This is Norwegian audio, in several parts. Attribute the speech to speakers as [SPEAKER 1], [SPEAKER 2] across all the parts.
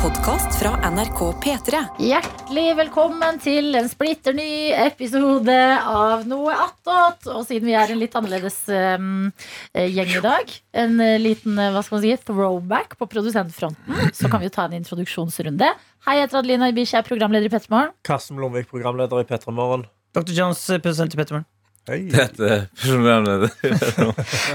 [SPEAKER 1] podkast fra NRK P3.
[SPEAKER 2] Hjertelig velkommen til en splitter ny episode av Noe attåt. Og siden vi er en litt annerledes um, gjeng i dag, en eh, liten eh, hva skal man si, throwback på produsentfronten, så kan vi jo ta en introduksjonsrunde. Hei, jeg heter Adelina Ibici, jeg er programleder i Pettermorgen.
[SPEAKER 3] Karsten Blomvik, programleder i P3 Morgen.
[SPEAKER 4] Dr. Jones, eh, produsent i Pettermorgen.
[SPEAKER 3] Hei.
[SPEAKER 5] Dette programleder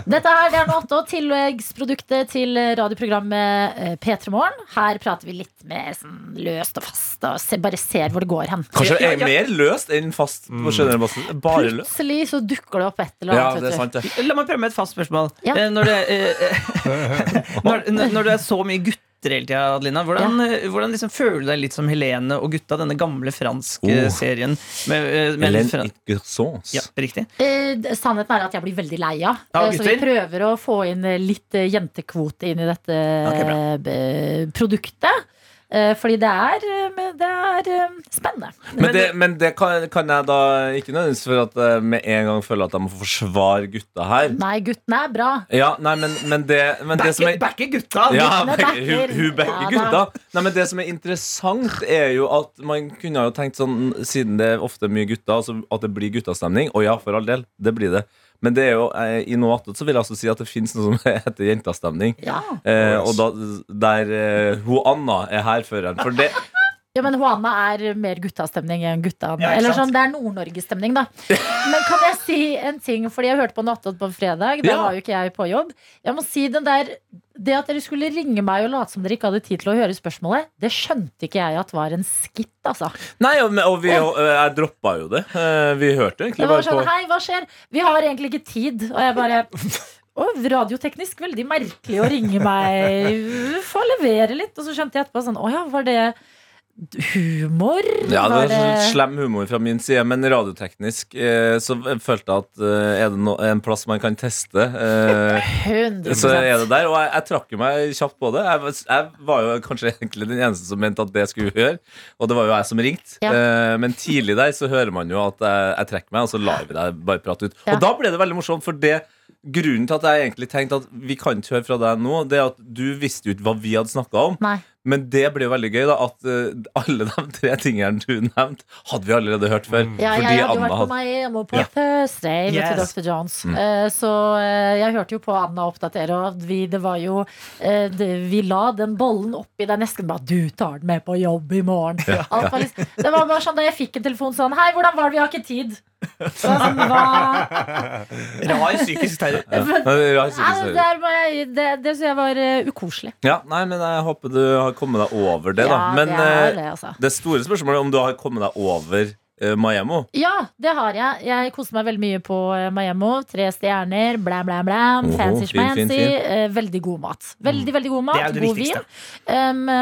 [SPEAKER 2] Dette her det er Noe attåt, tilleggsproduktet til eh, radioprogrammet eh, P3 Morgen. Her prater vi litt mer sånn løst og fast og se, bare ser hvor det går hen.
[SPEAKER 5] Kanskje
[SPEAKER 2] Ja,
[SPEAKER 5] er
[SPEAKER 2] ja,
[SPEAKER 5] mer løst enn fast på generell basis. Bare løst.
[SPEAKER 2] Plutselig så dukker det opp et eller
[SPEAKER 5] Mm. Ja,
[SPEAKER 2] annet.
[SPEAKER 5] det er
[SPEAKER 2] vet du.
[SPEAKER 5] sant, det.
[SPEAKER 4] La meg prøve med et fast spørsmål.
[SPEAKER 2] Ja.
[SPEAKER 4] Eh, Når, det, eh, når, når- når det er så mye gutter hele tida, Adelina, hvordan, eh, hvordan liksom føler du deg litt som Helene og gutta, denne gamle franske
[SPEAKER 5] Oh.
[SPEAKER 4] serien? Med, eh, med
[SPEAKER 5] Hélène
[SPEAKER 4] fran-
[SPEAKER 5] Ingersons.
[SPEAKER 4] ja, riktig.
[SPEAKER 2] Eh, d- sannheten er at jeg blir veldig lei av.
[SPEAKER 4] Ja,
[SPEAKER 2] Eh, så vi
[SPEAKER 4] gutter.
[SPEAKER 2] prøver å få inn eh, litt eh, jentekvote inn i dette
[SPEAKER 4] Ok, bra.
[SPEAKER 2] eh, b- produktet. Eh, Fordi det er, eh, men det er eh, spennende.
[SPEAKER 5] Men det, men det kan, kan jeg da ikke nødvendigvis for at jeg med en gang føler at jeg må forsvare gutta her.
[SPEAKER 2] Nei, guttene er bra.
[SPEAKER 5] Ja, nei, men, men det, men det som
[SPEAKER 4] Backe
[SPEAKER 5] er
[SPEAKER 4] backe gutta!
[SPEAKER 5] ja,
[SPEAKER 2] Guttene
[SPEAKER 5] men
[SPEAKER 2] backer.
[SPEAKER 5] hun, hun backer
[SPEAKER 2] Ja da.
[SPEAKER 5] gutta. Nei, men det som er interessant, er jo at man kunne jo tenkt sånn, siden det er ofte mye gutter, altså at det blir guttastemning. Og ja, for all del, det blir det. Men det er jo, eh, i noe annet så vil jeg altså si at det fins noe som heter jentastemning.
[SPEAKER 2] Ja,
[SPEAKER 5] Eh, og da, der eh, hun Anna er hærføreren. For det
[SPEAKER 2] ja Men Juana er mer guttastemning enn gutta.
[SPEAKER 4] Ja, ikke
[SPEAKER 2] Eller sånn,
[SPEAKER 4] sant?
[SPEAKER 2] det er Nord-Norge-stemning, da. Men kan jeg si en ting? Fordi jeg hørte på Nattodd på fredag. Da
[SPEAKER 5] Ja.
[SPEAKER 2] var jo ikke jeg på jobb. Jeg må si den der Det at dere skulle ringe meg og late som dere ikke hadde tid til å høre spørsmålet, det skjønte ikke jeg at var en skitt, altså.
[SPEAKER 5] Nei, og, og, vi, og eh, jeg droppa jo det. Eh, Vi hørte
[SPEAKER 2] Det
[SPEAKER 5] jo egentlig
[SPEAKER 2] var
[SPEAKER 5] bare
[SPEAKER 2] sånn,
[SPEAKER 5] på
[SPEAKER 2] hei, hva skjer? Vi har egentlig ikke tid. Og jeg bare «Å, radioteknisk veldig merkelig å ringe meg Få levere litt. Og så skjønte jeg etterpå sånn Å ja, var det humor?
[SPEAKER 5] ja, det
[SPEAKER 2] var eh,
[SPEAKER 5] var sånn Slem humor fra min side, men radioteknisk eh, så følte jeg at eh, er det no, en plass man kan teste, eh,
[SPEAKER 2] 100
[SPEAKER 5] så er det der. Og jeg, jeg trakk jo meg kjapt på det. Jeg, var- jeg var jo kanskje egentlig den eneste som mente at det skulle vi gjøre, og det var jo jeg som ringte.
[SPEAKER 2] Ja.
[SPEAKER 5] Eh, Men tidlig der så hører man jo at jeg, jeg trekker meg, og så lar vi deg bare prate ut.
[SPEAKER 2] Ja.
[SPEAKER 5] Og da ble det veldig morsomt, for det grunnen til at jeg egentlig tenkte at vi kan ikke høre fra deg nå, det er at du visste jo ikke hva vi hadde snakka om.
[SPEAKER 2] Nei.
[SPEAKER 5] Men det blir jo veldig gøy, da, at eh, alle de tre tingene du nevnte, hadde vi allerede hørt før.
[SPEAKER 2] Ja, jeg
[SPEAKER 5] Fordi
[SPEAKER 2] hadde jo
[SPEAKER 5] Anna
[SPEAKER 2] vært på
[SPEAKER 5] hadde-
[SPEAKER 2] Miami på
[SPEAKER 5] Ja. Mm.
[SPEAKER 2] Thursday med
[SPEAKER 4] Yes.
[SPEAKER 2] til Dr. Jones. Eh, så eh, jeg hørte jo på Anna oppdatere, og vi, det var jo eh, det, Vi la den bollen oppi der nesten bare Du tar den med på jobb i morgen. Alt var liksom, det var bare sånn da jeg fikk en telefon sånn Hei, hvordan var det? Vi har ikke tid. Så jeg sånn, hva?
[SPEAKER 4] Rar psykisk terror.
[SPEAKER 5] Ja. Nei, det er
[SPEAKER 2] Nei,
[SPEAKER 5] rart, ikke
[SPEAKER 2] det,
[SPEAKER 5] så-
[SPEAKER 2] der må jeg, det, det synes jeg var eh, ukoselig.
[SPEAKER 5] Ja, nei, men jeg håper du har kommet deg over det, da. Men
[SPEAKER 2] ja, det er
[SPEAKER 5] eh,
[SPEAKER 2] det, altså.
[SPEAKER 5] det store spørsmålet er om du har kommet deg over eh, Miami.
[SPEAKER 2] Ja, det har jeg. Jeg koser meg veldig mye på eh, Miami. Tre stjerner, blæ, blæ, blæ.
[SPEAKER 5] Oho,
[SPEAKER 2] Fancy,
[SPEAKER 5] fin, fin,
[SPEAKER 2] schmancy.
[SPEAKER 5] fin.
[SPEAKER 2] eh, Veldig god mat. Veldig, veldig god mat.
[SPEAKER 4] Mm. Det er det
[SPEAKER 2] god
[SPEAKER 4] viktigste.
[SPEAKER 2] vin. Um,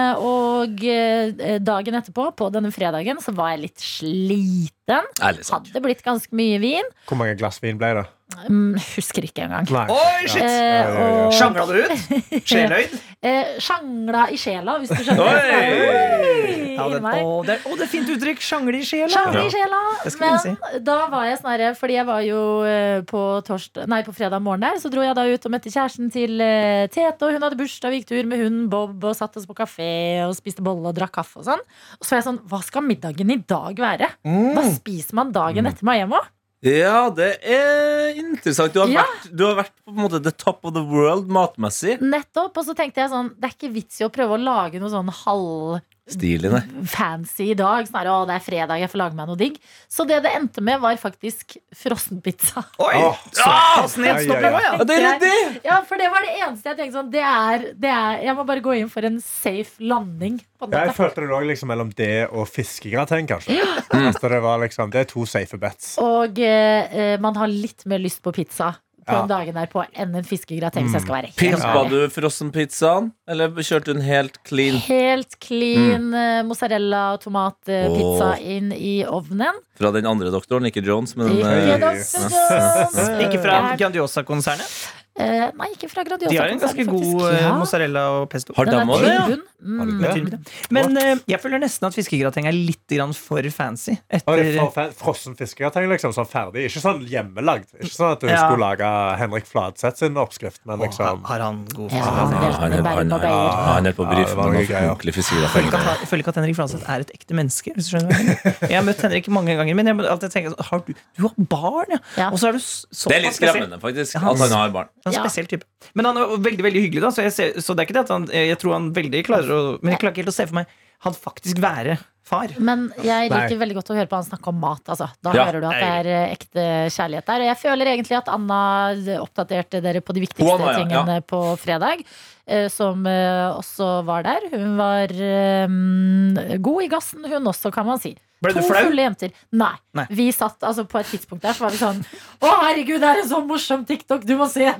[SPEAKER 2] og eh, dagen etterpå, på denne fredagen, så var jeg litt sliten.
[SPEAKER 5] Ærlig sak.
[SPEAKER 2] Hadde blitt ganske mye vin.
[SPEAKER 3] Hvor mange glass vin ble det?
[SPEAKER 2] Mm, husker ikke engang.
[SPEAKER 3] Nei.
[SPEAKER 4] Oi, shit!
[SPEAKER 2] Eh,
[SPEAKER 3] ja, ja.
[SPEAKER 2] og
[SPEAKER 4] Sjangla du ut? Sjeløyd?
[SPEAKER 2] eh, sjangla i sjela, hvis du skjønner.
[SPEAKER 5] Oi!
[SPEAKER 4] Ja,
[SPEAKER 2] Inni
[SPEAKER 4] det,
[SPEAKER 2] meg.
[SPEAKER 4] å, det, er- å, det er et fint uttrykk! Sjangle i sjela.
[SPEAKER 2] Sjangla i sjela.
[SPEAKER 4] Det skulle
[SPEAKER 2] Men
[SPEAKER 4] jeg
[SPEAKER 2] da var jeg snarere Fordi jeg var jo eh, på, torsk- nei, på fredag morgen der, så dro jeg da ut og møtte kjæresten til eh, Tete. Og hun hadde bursdag, vi gikk tur med hunden Bob og satte oss på kafé og spiste bolle og drakk kaffe og sånn. Og så var jeg sånn Hva skal middagen i dag være? Hva
[SPEAKER 4] Mm.
[SPEAKER 2] spiser man dagen etter Miami?
[SPEAKER 5] Ja, det er interessant. Du har,
[SPEAKER 2] Ja.
[SPEAKER 5] vært, du har vært på en måte the top of the world matmessig.
[SPEAKER 2] Nettopp. Og så tenkte jeg sånn Det er ikke vits i å prøve å lage noe sånn halv
[SPEAKER 5] Stilig, nei.
[SPEAKER 2] fancy i dag. Snarere å, det er fredag, jeg får lage meg noe digg. Så det det endte med, var faktisk frossenpizza.
[SPEAKER 4] Oi!
[SPEAKER 3] Åh, så-
[SPEAKER 4] Ah, snedstopp
[SPEAKER 3] Ja, ja, ja.
[SPEAKER 4] i år, ja.
[SPEAKER 5] Ja, det er ryddig!
[SPEAKER 2] Ja, for det var det eneste jeg tenkte sånn det er, det er, Jeg må bare gå inn for en safe landing på
[SPEAKER 3] Ja, jeg
[SPEAKER 2] dette.
[SPEAKER 3] følte det lå liksom mellom det og fiskegrateng, kanskje. Altså, det, var liksom, det er to safe bets.
[SPEAKER 2] Og eh, eh, man har litt mer lyst på pizza på
[SPEAKER 3] Ja.
[SPEAKER 2] en dagen derpå enn en fiskegrateng, så jeg skal være helt
[SPEAKER 5] Pimpa
[SPEAKER 2] ærlig.
[SPEAKER 5] du frossenpizzaen, eller kjørte du den helt clean?
[SPEAKER 2] Helt clean
[SPEAKER 3] Mm.
[SPEAKER 2] eh, mozzarella og tomatpizza
[SPEAKER 5] Åh.
[SPEAKER 2] inn i ovnen.
[SPEAKER 5] Fra den andre doktoren, ikke Jones, men
[SPEAKER 2] Ikke
[SPEAKER 5] eh,
[SPEAKER 2] Dr. Jones.
[SPEAKER 4] Ikke fra
[SPEAKER 2] Det er-
[SPEAKER 4] Grandiosa-konsernet?
[SPEAKER 2] Eh, nei, ikke fra Grandiosa.
[SPEAKER 4] De har en ganske god eh, mozzarella og pesto.
[SPEAKER 5] Har de
[SPEAKER 2] Den er
[SPEAKER 5] også det, ja?
[SPEAKER 2] tynn. Mm.
[SPEAKER 3] Har
[SPEAKER 4] Med
[SPEAKER 3] de
[SPEAKER 4] tynn middag. Men eh, jeg føler nesten at fiskegrateng er litt grann for fancy.
[SPEAKER 3] Og det er
[SPEAKER 4] Etter,
[SPEAKER 3] for- for- Frossen fiskegrateng, liksom, sånn ferdig. Ikke sånn hjemmelagd. Ikke sånn at du
[SPEAKER 4] Ja.
[SPEAKER 3] skulle lage Henrik Fladseth sin oppskrift, men liksom
[SPEAKER 4] har han god
[SPEAKER 2] Ja,
[SPEAKER 4] fiskegrateng?
[SPEAKER 2] han er
[SPEAKER 5] han, er, han,
[SPEAKER 2] Bergen og
[SPEAKER 5] er,
[SPEAKER 2] Beyer.
[SPEAKER 5] han er på
[SPEAKER 3] Ja, det
[SPEAKER 5] brifen.
[SPEAKER 3] var
[SPEAKER 5] Han
[SPEAKER 3] noe
[SPEAKER 5] har
[SPEAKER 3] greier.
[SPEAKER 5] ordentlig
[SPEAKER 4] Jeg føler
[SPEAKER 5] fiskegrateng.
[SPEAKER 4] ikke at- jeg føler ikke at Henrik Flanseth er et ekte menneske. Hvis du skjønner hva jeg mener. Jeg har møtt Henrik mange ganger, men jeg må alltid tenke sånn, har du, du har barn, ja!
[SPEAKER 2] Ja.
[SPEAKER 4] Og så er du s- såpass
[SPEAKER 5] Det er litt
[SPEAKER 4] spesiell.
[SPEAKER 5] skremmende, faktisk,
[SPEAKER 4] Ja.
[SPEAKER 5] at han har barn.
[SPEAKER 4] Han er en
[SPEAKER 2] Ja.
[SPEAKER 4] spesiell type. Men han er jo veldig veldig hyggelig, da, så, jeg ser, så det er ikke det at han eh, Jeg tror han veldig klarer å Men jeg klarer ikke helt å se for meg han faktisk være far.
[SPEAKER 2] Men jeg
[SPEAKER 3] Nei.
[SPEAKER 2] liker veldig godt å høre på han snakke om mat. Altså. Da
[SPEAKER 5] Ja,
[SPEAKER 2] hører du at det er eh, ekte kjærlighet der. Og jeg føler egentlig at Anna oppdaterte dere på de viktigste
[SPEAKER 5] Hun, Anna, ja,
[SPEAKER 2] tingene på fredag. eh, Som eh, også var der. Hun var eh, god i gassen, hun også, kan man si.
[SPEAKER 4] Ble du
[SPEAKER 2] to
[SPEAKER 4] flau?
[SPEAKER 2] fulle jenter. Nei.
[SPEAKER 4] Nei.
[SPEAKER 2] Vi satt altså, på et tidspunkt der, så var vi sånn Å, herregud, det er en sånn morsom TikTok, du må se!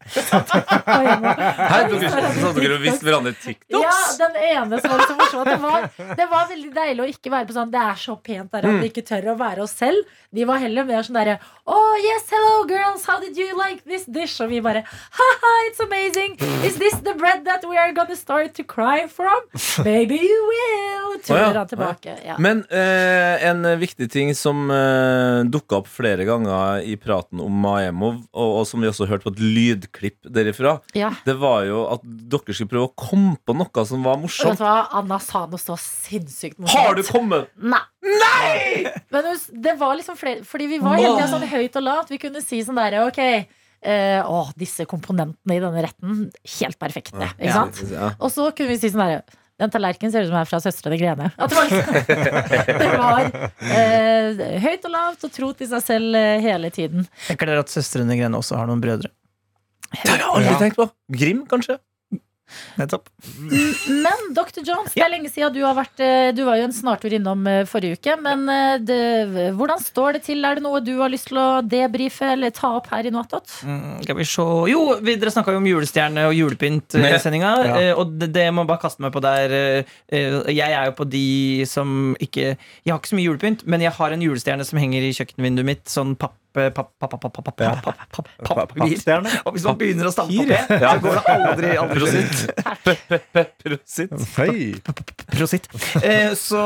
[SPEAKER 2] Her,
[SPEAKER 5] Her, dere, så dere har vist hverandre TikToks.
[SPEAKER 2] ja, den ene som var så morsom. at Det var, det var veldig deilig å ikke være på sånn Det er så pent der
[SPEAKER 5] Mm.
[SPEAKER 2] at vi ikke tør å være oss selv. De var heller mer sånn derre Oh yes, hello girls, how did you like this dish? Og vi bare Haha, it's amazing. Is this the bread that we are gonna start to cry from? Maybe you will.
[SPEAKER 5] Å ja.
[SPEAKER 2] Tuller han tilbake. Ja.
[SPEAKER 5] Men eh, en viktig ting som eh, dukka opp flere ganger i praten om Maemov, og, og som vi også hørte på et lydklipp derifra,
[SPEAKER 2] ja.
[SPEAKER 5] det var jo at dere skulle prøve å komme på noe som var
[SPEAKER 2] Og vet
[SPEAKER 5] morsomt.
[SPEAKER 2] du hva? Anna sa noe så sinnssykt morsomt.
[SPEAKER 5] Har du kommet?
[SPEAKER 2] Nei! Men hus- det var liksom flere Fordi vi var hele tiden sånn høyt og lavt. Vi kunne si sånn derre Ok, eh, å, disse komponentene i denne retten, helt perfekte. Ikke sant?
[SPEAKER 5] Ja.
[SPEAKER 2] Og så kunne vi si sånn derre den tallerkenen ser ut som den er fra Søstrene Grene. At det var, liksom, det var eh, høyt og lavt og tro til seg selv eh, hele tiden.
[SPEAKER 4] Tenker dere at søstrene Grene også har noen brødre?
[SPEAKER 5] Det har jeg aldri
[SPEAKER 3] Ja.
[SPEAKER 5] tenkt på. Grim, kanskje?
[SPEAKER 4] Nettopp.
[SPEAKER 2] Men Dr. Jones, det er lenge siden du har vært eh, Du var jo en snartur innom eh, forrige uke. Men eh, det, hvordan står det til? Er det noe du har lyst til å debrife eller ta opp her i noe attåt?
[SPEAKER 4] Mm, Skal vi se Jo, vi, dere snakka jo om julestjerne og julepynt eh, i sendinga.
[SPEAKER 3] Ja.
[SPEAKER 4] eh, Og det, det må jeg bare kaste meg på der. eh, eh, Jeg er jo på de som ikke Jeg har ikke så mye julepynt, men jeg har en julestjerne som henger i kjøkkenvinduet mitt. Sånn papp... papp, papp, papp, papp, papp, papp, papp, papp, papp, papir.
[SPEAKER 3] Pappstjerne.
[SPEAKER 4] Og hvis man begynner å stamme på P, så går det aldri, aldri ut.
[SPEAKER 5] Sitt.
[SPEAKER 3] Hei.
[SPEAKER 4] Prosit. Eh, så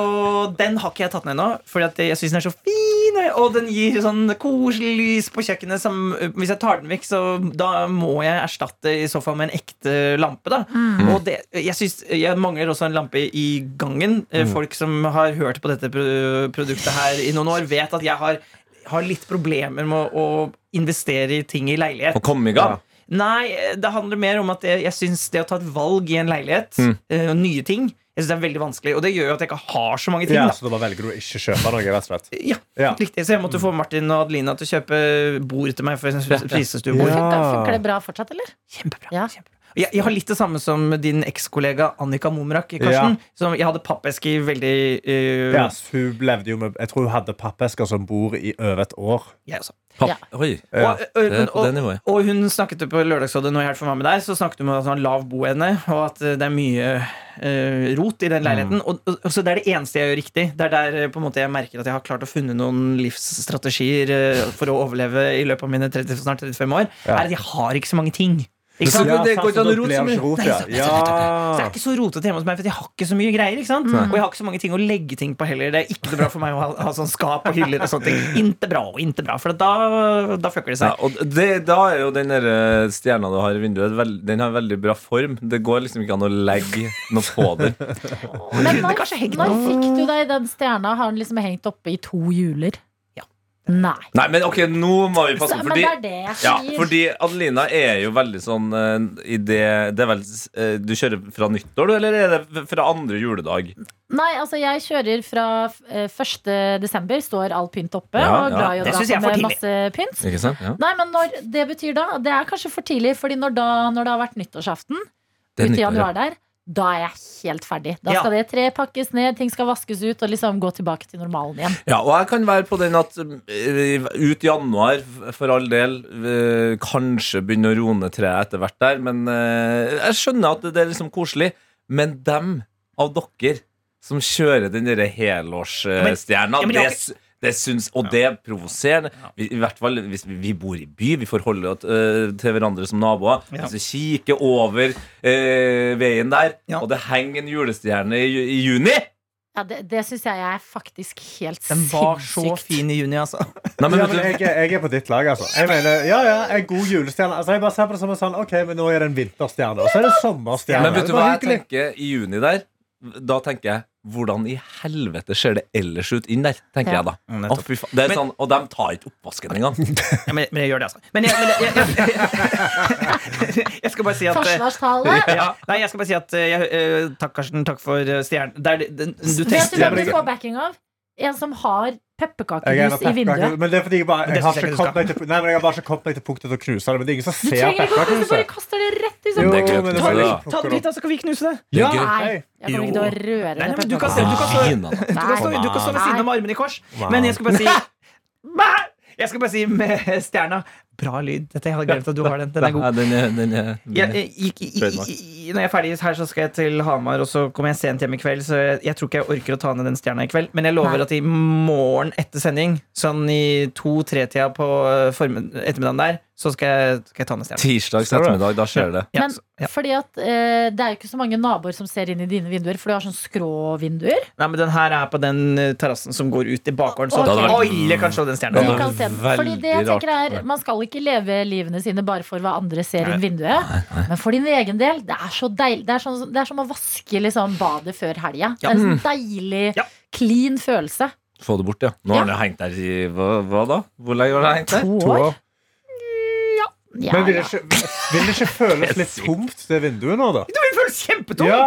[SPEAKER 4] den har ikke jeg tatt ned ennå, Fordi at jeg syns den er så fin. Og den gir sånn koselig lys på kjøkkenet som eh, Hvis jeg tar den vekk, så da må jeg erstatte i så fall med en ekte lampe. da Og det, jeg synes, jeg mangler også en lampe i gangen. Eh, Folk som har hørt på dette pro- produktet her i noen år, vet at jeg har, har litt problemer med å å investere i ting i leilighet.
[SPEAKER 5] Å komme i gang.
[SPEAKER 4] Nei, det handler mer om at jeg, jeg syns det å ta et valg i en leilighet,
[SPEAKER 3] Mm.
[SPEAKER 4] eh, og nye ting, jeg synes det er veldig vanskelig. Og det gjør jo at jeg ikke har så mange ting.
[SPEAKER 3] Ja,
[SPEAKER 4] da.
[SPEAKER 3] så da bare velger du å ikke kjøpe noe, rett og slett.
[SPEAKER 4] Ja,
[SPEAKER 3] Ja.
[SPEAKER 4] riktig. Så jeg måtte få Martin og Adelina til å kjøpe bord til meg. For eksempel
[SPEAKER 3] Ja.
[SPEAKER 4] prisestuebord.
[SPEAKER 2] Funker,
[SPEAKER 4] Ah.
[SPEAKER 2] funker det bra fortsatt, eller?
[SPEAKER 4] Kjempebra.
[SPEAKER 2] Ja.
[SPEAKER 4] kjempebra. Jeg, jeg har litt det samme som din ekskollega Annika Momrak. Karsten, som Jeg hadde pappeske i veldig eh,
[SPEAKER 3] Ja, så hun levde jo med Jeg tror hun hadde pappesker som bor i over et år.
[SPEAKER 4] Jeg også.
[SPEAKER 5] Papp.
[SPEAKER 2] Ja.
[SPEAKER 5] Oi.
[SPEAKER 3] Ja,
[SPEAKER 4] Og, ø,
[SPEAKER 5] det er
[SPEAKER 4] men-
[SPEAKER 5] på det nivået.
[SPEAKER 4] og, og hun snakket jo på Lørdagsrådet når jeg var med der, så snakket hun om at hun har lav boevne, og at ø, det er mye ø, rot i den leiligheten.
[SPEAKER 5] Mm.
[SPEAKER 4] Og, og, og så det er det eneste jeg gjør riktig. Det er der ø, på en måte jeg merker at jeg har klart å funne noen livsstrategier ø, for å overleve i løpet av mine 30, snart 35 år,
[SPEAKER 3] Ja.
[SPEAKER 4] er at jeg har ikke så mange ting. Ikke
[SPEAKER 5] Så
[SPEAKER 4] sant?
[SPEAKER 5] det- det går
[SPEAKER 3] så
[SPEAKER 5] ikke an å
[SPEAKER 3] da blir
[SPEAKER 5] rote så
[SPEAKER 3] det ikke
[SPEAKER 5] mye.
[SPEAKER 3] rot, ja.
[SPEAKER 4] Så det
[SPEAKER 3] Ja.
[SPEAKER 4] er ikke så rotete hjemme hos meg, for jeg har ikke så mye greier. ikke sant? Og jeg har ikke så mange ting å legge ting på heller. Det er ikke noe bra for meg å ha, ha sånn skap og hyller og sånne ting. Inte bra og inte bra, for da, da fucker det
[SPEAKER 5] Ja,
[SPEAKER 4] seg.
[SPEAKER 5] og det, da er jo den der eh, stjerna du har i vinduet, veld, den har veldig bra form. Det går liksom ikke an å legge noe på det.
[SPEAKER 2] Men
[SPEAKER 4] kunne
[SPEAKER 2] når,
[SPEAKER 4] kanskje hengt
[SPEAKER 2] når fikk du deg den stjerna? Har den liksom hengt oppe i to hjuler?
[SPEAKER 4] Ja.
[SPEAKER 2] Nei.
[SPEAKER 5] Nei, men ok, nå må vi
[SPEAKER 2] Så,
[SPEAKER 5] passe på.
[SPEAKER 2] men
[SPEAKER 5] Fordi,
[SPEAKER 2] det er det jeg
[SPEAKER 5] ja,
[SPEAKER 2] sier.
[SPEAKER 5] fordi Adelina er jo veldig sånn eh, i det, det er vel, eh, Du kjører fra nyttår, du, eller er det fra andre juledag?
[SPEAKER 2] Nei, altså jeg kjører fra eh, 1. desember, står all pynt oppe.
[SPEAKER 5] Ja,
[SPEAKER 2] og
[SPEAKER 5] ja.
[SPEAKER 2] glad i å
[SPEAKER 4] Det
[SPEAKER 2] dra
[SPEAKER 4] synes jeg
[SPEAKER 2] på
[SPEAKER 4] er
[SPEAKER 2] med
[SPEAKER 4] for
[SPEAKER 2] masse pynt.
[SPEAKER 5] Ikke sant? Ja.
[SPEAKER 2] Nei, men når, det betyr da Det er kanskje for tidlig, fordi når, da, når det har vært nyttårsaften Ute
[SPEAKER 5] Det er
[SPEAKER 2] i
[SPEAKER 5] nyttår, ja.
[SPEAKER 2] januar der da er jeg helt ferdig. Da
[SPEAKER 4] Ja.
[SPEAKER 2] skal det tre pakkes ned, ting skal vaskes ut og liksom gå tilbake til normalen igjen.
[SPEAKER 5] Ja, og jeg kan være på den at eh, ut i januar, for all del, eh, kanskje begynne å roe ned treet etter hvert der, men eh, jeg skjønner at det er liksom koselig. Men dem av dere som kjører den derre
[SPEAKER 4] men-
[SPEAKER 5] helårsstjerna,
[SPEAKER 4] ja, men jeg
[SPEAKER 5] det,
[SPEAKER 4] har
[SPEAKER 5] s- Det syns, og det er provoserende. Vi, I hvert fall hvis vi, vi bor i by. Vi forholder oss øh, til hverandre som naboer.
[SPEAKER 4] Ja.
[SPEAKER 5] Hvis vi kikker over øh, veien der,
[SPEAKER 4] Ja.
[SPEAKER 5] og det henger en julestjerne i, ju- i juni
[SPEAKER 2] Ja, det det syns jeg er faktisk helt
[SPEAKER 4] Den var så
[SPEAKER 2] sinnssykt.
[SPEAKER 4] fin i juni, altså.
[SPEAKER 5] Nei, men,
[SPEAKER 3] Ja,
[SPEAKER 5] vet
[SPEAKER 3] men
[SPEAKER 5] du-
[SPEAKER 3] jeg, er- jeg er på ditt lag, altså. Jeg mener, ja, ja, en god julestjerne. Altså, jeg bare ser på det som en sånn Ok, men nå er det en vinterstjerne, og så er det sommerstjerne.
[SPEAKER 5] Men vet
[SPEAKER 3] Det
[SPEAKER 5] du
[SPEAKER 3] var
[SPEAKER 5] hva jeg
[SPEAKER 3] hyggelig.
[SPEAKER 5] tenker i juni der? Da tenker jeg hvordan i helvete ser det ellers ut inn der? tenker
[SPEAKER 2] Ja.
[SPEAKER 5] jeg da
[SPEAKER 4] Mm,
[SPEAKER 5] Å,
[SPEAKER 4] nettopp.
[SPEAKER 5] fy faen. det er
[SPEAKER 4] Men-
[SPEAKER 5] sånn, Og de tar ikke oppvasken engang.
[SPEAKER 4] Ja, men, men jeg gjør det, altså. Men jeg, men jeg, jeg, jeg, jeg skal bare si at eh,
[SPEAKER 2] Forsvarstale.
[SPEAKER 4] ja, Nei, jeg skal bare si at eh, jeg, eh, Takk, Karsten. Takk for eh, stjernen. Det er det- den- Du
[SPEAKER 2] Vet du
[SPEAKER 4] tester
[SPEAKER 2] hvem du får backing av? En som har
[SPEAKER 3] Jeg er en av
[SPEAKER 2] pepperkakehus i
[SPEAKER 3] pepperkakene,
[SPEAKER 2] vinduet.
[SPEAKER 3] men det er fordi jeg bare
[SPEAKER 4] det
[SPEAKER 3] jeg har,
[SPEAKER 4] synes jeg
[SPEAKER 3] ikke
[SPEAKER 4] ikke du
[SPEAKER 3] kommet meg til, nei, men jeg har bare ikke kommet meg til punktet til å knuse det. Men det er ingen som
[SPEAKER 2] Du
[SPEAKER 3] ser
[SPEAKER 2] trenger ikke å kaste det, bare
[SPEAKER 3] pepperkakehuset.
[SPEAKER 2] kaster det rett i
[SPEAKER 3] Jo,
[SPEAKER 2] sånn.
[SPEAKER 5] Det er gøy å
[SPEAKER 3] men
[SPEAKER 5] knuse
[SPEAKER 3] bare
[SPEAKER 5] det,
[SPEAKER 3] litt
[SPEAKER 5] da.
[SPEAKER 4] Ta
[SPEAKER 3] plukker
[SPEAKER 4] den
[SPEAKER 3] det
[SPEAKER 4] dit, da, så kan vi knuse det.
[SPEAKER 5] Det
[SPEAKER 3] Ja.
[SPEAKER 5] er gøy.
[SPEAKER 2] Nei, jeg kommer ikke til å røre
[SPEAKER 4] Nei, nei,
[SPEAKER 2] det
[SPEAKER 4] men du kan,
[SPEAKER 2] pepperkakehuset.
[SPEAKER 4] du kan, stå,
[SPEAKER 5] Fina.
[SPEAKER 4] du kan, stå, du kan stå ved siden av med armene i kors. Men jeg skal bare si Bæ! Jeg skal bare si med stjerna Bra lyd. Dette, jeg hadde glemt at du har den. Den er god.
[SPEAKER 5] Ja, den er, den er, den
[SPEAKER 4] Jeg,
[SPEAKER 5] er.
[SPEAKER 4] jeg, gikk- eh, i- i- i- når jeg er ferdig her, så skal jeg til Hamar, og så kommer jeg sent hjem i kveld. Så jeg, jeg tror ikke jeg orker å ta ned den stjerna i kveld. Men jeg lover
[SPEAKER 2] Nei.
[SPEAKER 4] at i morgen etter sending, sånn i to-tre-tida på eh, formi- ettermiddagen der, så skal jeg, skal jeg ta ned stjerna.
[SPEAKER 5] Tirsdags ettermiddag, da skjer det.
[SPEAKER 4] Ja,
[SPEAKER 2] Men
[SPEAKER 4] så- ja.
[SPEAKER 2] fordi at eh, det er jo ikke så mange naboer som ser inn i dine vinduer, for du har sånn skråvinduer.
[SPEAKER 4] Nei, men den her er på den eh, terrassen som går ut i bakgården, så
[SPEAKER 2] Det hadde
[SPEAKER 5] vært-
[SPEAKER 4] alle kan slå den
[SPEAKER 2] De
[SPEAKER 5] Ja, det
[SPEAKER 4] stjerna.
[SPEAKER 5] er
[SPEAKER 2] kan se den.
[SPEAKER 5] veldig
[SPEAKER 2] Fordi det jeg tenker
[SPEAKER 5] rart.
[SPEAKER 2] er Man skal ikke leve livene sine bare for hva andre ser inn vinduet. Men for din egen del, det er så deilig. Det er, sånn, det er som å vaske liksom badet før helga. Det er en sånn deilig,
[SPEAKER 4] Mm. Ja.
[SPEAKER 2] clean følelse.
[SPEAKER 5] Få det bort, ja. Nå har den hengt der i hva, hva da? Hvor lenge har den hengt der?
[SPEAKER 2] To
[SPEAKER 3] To
[SPEAKER 2] år?
[SPEAKER 3] år.
[SPEAKER 2] Ja,
[SPEAKER 3] Men vil det
[SPEAKER 2] ja.
[SPEAKER 3] ikke, vil det ikke føles litt tomt, det vinduet nå, da?
[SPEAKER 4] Det vil føles kjempetomt!
[SPEAKER 3] Ja,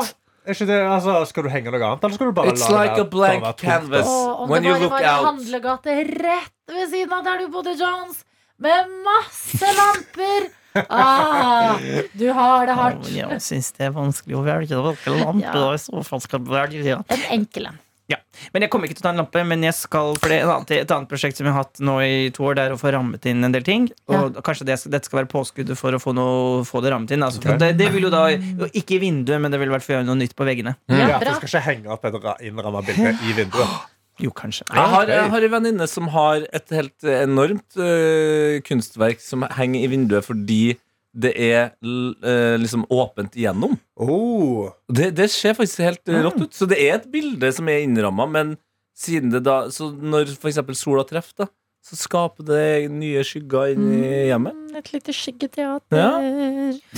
[SPEAKER 3] er ikke det, altså, skal du henge noe annet, eller skal du bare
[SPEAKER 5] It's
[SPEAKER 3] la
[SPEAKER 5] like
[SPEAKER 3] det
[SPEAKER 5] a blank
[SPEAKER 3] bare være tomt,
[SPEAKER 5] canvas.
[SPEAKER 2] Å, om
[SPEAKER 5] When
[SPEAKER 2] det
[SPEAKER 5] you
[SPEAKER 2] bare
[SPEAKER 5] look
[SPEAKER 2] var en
[SPEAKER 5] out.
[SPEAKER 2] handlegate rett ved siden av der du bodde, Jones, med masse lamper! Ah, du har det hardt.
[SPEAKER 4] Jeg syns det er vanskelig å velge. Det er ikke
[SPEAKER 2] Ja.
[SPEAKER 4] lampe, da, i så fall skal jeg velge, ja.
[SPEAKER 2] En enkel en.
[SPEAKER 4] Ja, men Jeg kommer ikke til å ta en lampe, men jeg skal, for det er en annen- et annet prosjekt som jeg har hatt nå i to år, det er å få rammet inn en del ting. Og Kanskje det, skal- dette skal være påskuddet for å få, noe, få det rammet inn. Altså, for
[SPEAKER 3] Ok.
[SPEAKER 4] det, det vil jo da, Ikke i vinduet, men det vil i hvert fall gjøre noe nytt på veggene.
[SPEAKER 2] Ja,
[SPEAKER 3] Ja, for
[SPEAKER 2] bra.
[SPEAKER 3] du skal ikke henge opp et ra- innrammet bilde i vinduet.
[SPEAKER 4] Jo, kanskje.
[SPEAKER 5] Jeg har,
[SPEAKER 3] ok.
[SPEAKER 5] jeg har en venninne som har et helt enormt øh, kunstverk som henger i vinduet fordi det er l- øh, liksom åpent igjennom.
[SPEAKER 3] Oh.
[SPEAKER 5] Det, det ser faktisk helt
[SPEAKER 3] Mm.
[SPEAKER 5] eh, rått ut. Så det er et bilde som er innramma, men siden det da Så når f.eks. sola treffer, da, så skaper det nye skygger inn i
[SPEAKER 3] Mm.
[SPEAKER 5] hjemmet.
[SPEAKER 2] Et lite skyggeteater.
[SPEAKER 5] Ja.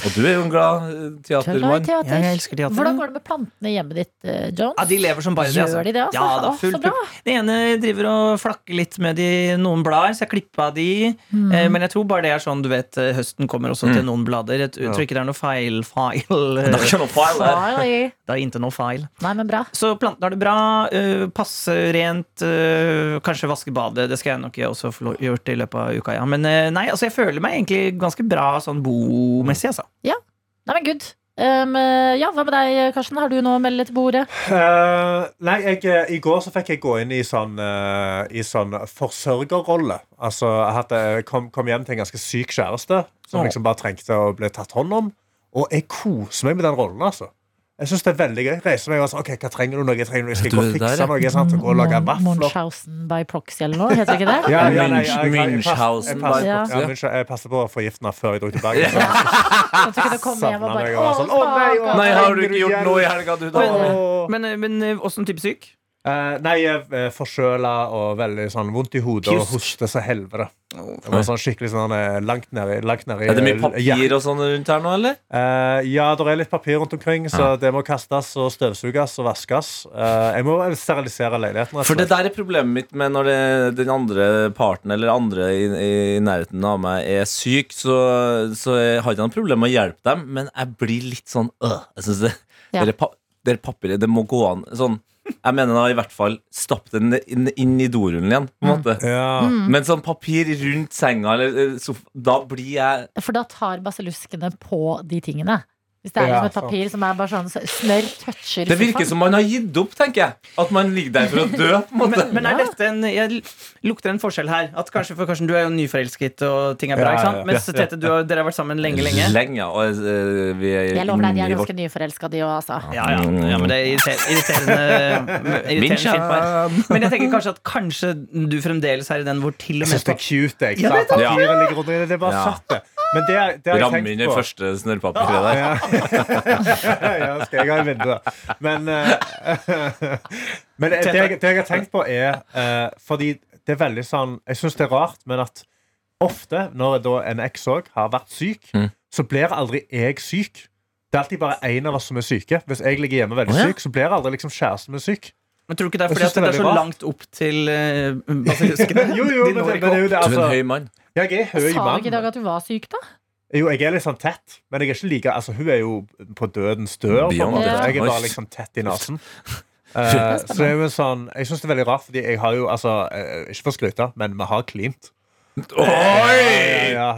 [SPEAKER 5] Og du er jo en glad eh, teatermann.
[SPEAKER 4] Ja, jeg elsker teater.
[SPEAKER 2] Hvordan går det med plantene i hjemmet ditt, eh, Jones?
[SPEAKER 4] Ja, De lever som bare det. altså.
[SPEAKER 2] Gjør de det? Altså?
[SPEAKER 4] Ja, da,
[SPEAKER 2] Å,
[SPEAKER 4] full
[SPEAKER 2] så bra.
[SPEAKER 4] pupp. Den ene driver og flakker litt med de, noen blader, så jeg klippa de.
[SPEAKER 2] Mm.
[SPEAKER 4] Eh, men jeg tror bare det er sånn, du vet, eh, høsten kommer også til noen blader. Jeg t- tror ikke det er noe feil, feil eh,
[SPEAKER 5] Det er ikke noe feil der.
[SPEAKER 2] Sorry.
[SPEAKER 4] Det er ikke noe feil.
[SPEAKER 2] Nei, men bra.
[SPEAKER 4] Så plantene har det bra. eh, passe rent. eh, kanskje vaske badet. Det skal jeg nok også få lo- gjort i løpet av uka. Ja. Men eh, nei, altså, jeg føler meg egentlig ganske bra sånn bomessig, altså.
[SPEAKER 2] Nei, men good. Um, eh, ja, hva med deg, Karsten? Har du noe å melde til bordet?
[SPEAKER 3] Eh, nei, jeg, eh, i går så fikk jeg gå inn i sånn, eh, i sånn forsørgerrolle. Altså, jeg hadde, kom, kom hjem til en ganske syk kjæreste som
[SPEAKER 4] Åh.
[SPEAKER 3] liksom bare trengte å bli tatt hånd om. Og jeg koser meg med den rollen, altså. Jeg synes det er veldig gøy. Reiser meg og sånn, ok, hva trenger du noe? Jeg trenger noe, jeg skal
[SPEAKER 5] Du,
[SPEAKER 3] gå og
[SPEAKER 5] det der, ja. Mm,
[SPEAKER 3] fikse noe, sant? Gå og lage vafler.
[SPEAKER 2] Munchhausen by proxy eller noe, heter det ikke det?
[SPEAKER 3] Ja, ja, nei, jeg- jeg- jeg pass- jeg
[SPEAKER 5] Münchhausen.
[SPEAKER 3] pass-
[SPEAKER 2] Ja.
[SPEAKER 3] ja, Münchhausen. Jeg passet på å forgifte den før jeg dro til Bergen. så
[SPEAKER 2] At du kunne komme hjem og
[SPEAKER 3] Savnet meg
[SPEAKER 2] bare
[SPEAKER 3] og var sånn, å nei, å
[SPEAKER 5] Nei, har du ikke gjort noe i helga, du, da?
[SPEAKER 3] Åh.
[SPEAKER 4] Men, eh, men eh, åssen type syk?
[SPEAKER 3] Eh, nei, eh, forkjøla og veldig sånn vondt i hodet og
[SPEAKER 4] Pjusk.
[SPEAKER 3] hoste så helvete. Det var sånn skikkelig sånn eh, langt nedi. Langt ned i,
[SPEAKER 5] Er det mye
[SPEAKER 3] Ja.
[SPEAKER 5] papir og sånn rundt her nå, eller?
[SPEAKER 3] Eh, ja, det er litt papir rundt omkring, så det må kastes og støvsuges og vaskes. Eh, jeg må vel sterilisere leiligheten. rett og
[SPEAKER 5] For det
[SPEAKER 3] slett.
[SPEAKER 5] der er problemet mitt med når det, den andre parten eller andre i, i nærheten av meg er syk, så, så jeg har ikke noe problem med å hjelpe dem, men jeg blir litt sånn øh. Jeg synes det,
[SPEAKER 2] Ja.
[SPEAKER 5] dere, pa, dere papiret, det må gå an sånn. Jeg mener da i hvert fall stapp den inn, inn i dorullen
[SPEAKER 2] Mm.
[SPEAKER 5] igjen, på en måte.
[SPEAKER 3] ja.
[SPEAKER 5] Men sånn papir rundt senga eller eh, sofa, Da blir jeg
[SPEAKER 2] For da tar basilluskene på de tingene. Hvis Hvis det er
[SPEAKER 3] Ja,
[SPEAKER 2] liksom et
[SPEAKER 3] sant.
[SPEAKER 2] papir som er bare sånn snørr toucher
[SPEAKER 5] Det virker som man har gitt opp, tenker jeg. At man ligger der for å dø. på en måte
[SPEAKER 4] Men, men er dette en, jeg lukter en forskjell her. At kanskje, for Karsten, Du er jo nyforelsket, og ting er bra.
[SPEAKER 3] Ja,
[SPEAKER 4] ikke
[SPEAKER 3] ja, ja.
[SPEAKER 4] sant? Mens Tete, du har, dere har vært sammen lenge, lenge.
[SPEAKER 5] og eh, vi er
[SPEAKER 2] Jeg lover deg, de
[SPEAKER 3] Mm,
[SPEAKER 5] inni
[SPEAKER 2] er
[SPEAKER 5] vårt-
[SPEAKER 2] ganske nyforelska, de òg, altså.
[SPEAKER 4] Ja, ja. ja, men det er irriter- irriterende,
[SPEAKER 5] Min
[SPEAKER 4] irriterende skilpar.
[SPEAKER 5] skjerm.
[SPEAKER 4] Men jeg tenker kanskje at kanskje du fremdeles er i den hvor til og
[SPEAKER 3] Jeg syns det er
[SPEAKER 4] med
[SPEAKER 3] cute. Jeg,
[SPEAKER 4] Ja,
[SPEAKER 3] ja,
[SPEAKER 4] det er
[SPEAKER 3] det,
[SPEAKER 5] det.
[SPEAKER 3] ligger rundt, i det, det er bare
[SPEAKER 5] Ja.
[SPEAKER 3] satt det. Men det, er- det har jeg
[SPEAKER 5] Ramme
[SPEAKER 3] tenkt
[SPEAKER 5] inn i
[SPEAKER 3] på.
[SPEAKER 5] første snørrpapiret der.
[SPEAKER 3] ja, skal jeg ha i vinduet. Men, eh, men det, jeg, det jeg har tenkt på, er eh, Fordi det er veldig sånn Jeg syns det er rart, men at ofte når da en eks òg har vært syk,
[SPEAKER 5] Mm.
[SPEAKER 3] så blir aldri jeg syk. Det er alltid bare én av oss som er syke. Hvis jeg ligger hjemme veldig
[SPEAKER 5] Å, ja.
[SPEAKER 3] syk, så blir aldri liksom kjæresten min syk.
[SPEAKER 4] Men tror du ikke det er
[SPEAKER 3] Jeg
[SPEAKER 4] fordi
[SPEAKER 3] synes
[SPEAKER 4] at det
[SPEAKER 3] det er
[SPEAKER 4] er så
[SPEAKER 3] veldig bra.
[SPEAKER 4] langt opp til eh, basiliskene?
[SPEAKER 3] Jo, jo, men,
[SPEAKER 4] De når
[SPEAKER 3] det, men
[SPEAKER 4] ikke
[SPEAKER 3] det er jo det,
[SPEAKER 4] opp.
[SPEAKER 5] Du er en
[SPEAKER 3] altså.
[SPEAKER 5] høy mann.
[SPEAKER 3] Jeg er høy
[SPEAKER 2] Sa du ikke i dag
[SPEAKER 3] mann.
[SPEAKER 2] at du var syk, da?
[SPEAKER 3] Jo, jeg er litt sånn tett, men jeg er ikke like Altså, hun er jo på dødens dør. på en
[SPEAKER 5] Beyond
[SPEAKER 3] måte.
[SPEAKER 2] death.
[SPEAKER 3] Jeg er bare
[SPEAKER 5] Nice.
[SPEAKER 3] liksom tett i nesen. Eh, så det er jo en sånn Jeg syns det er veldig rart, fordi jeg har jo altså eh, Ikke for å skryte, men vi har klint.
[SPEAKER 5] Oi!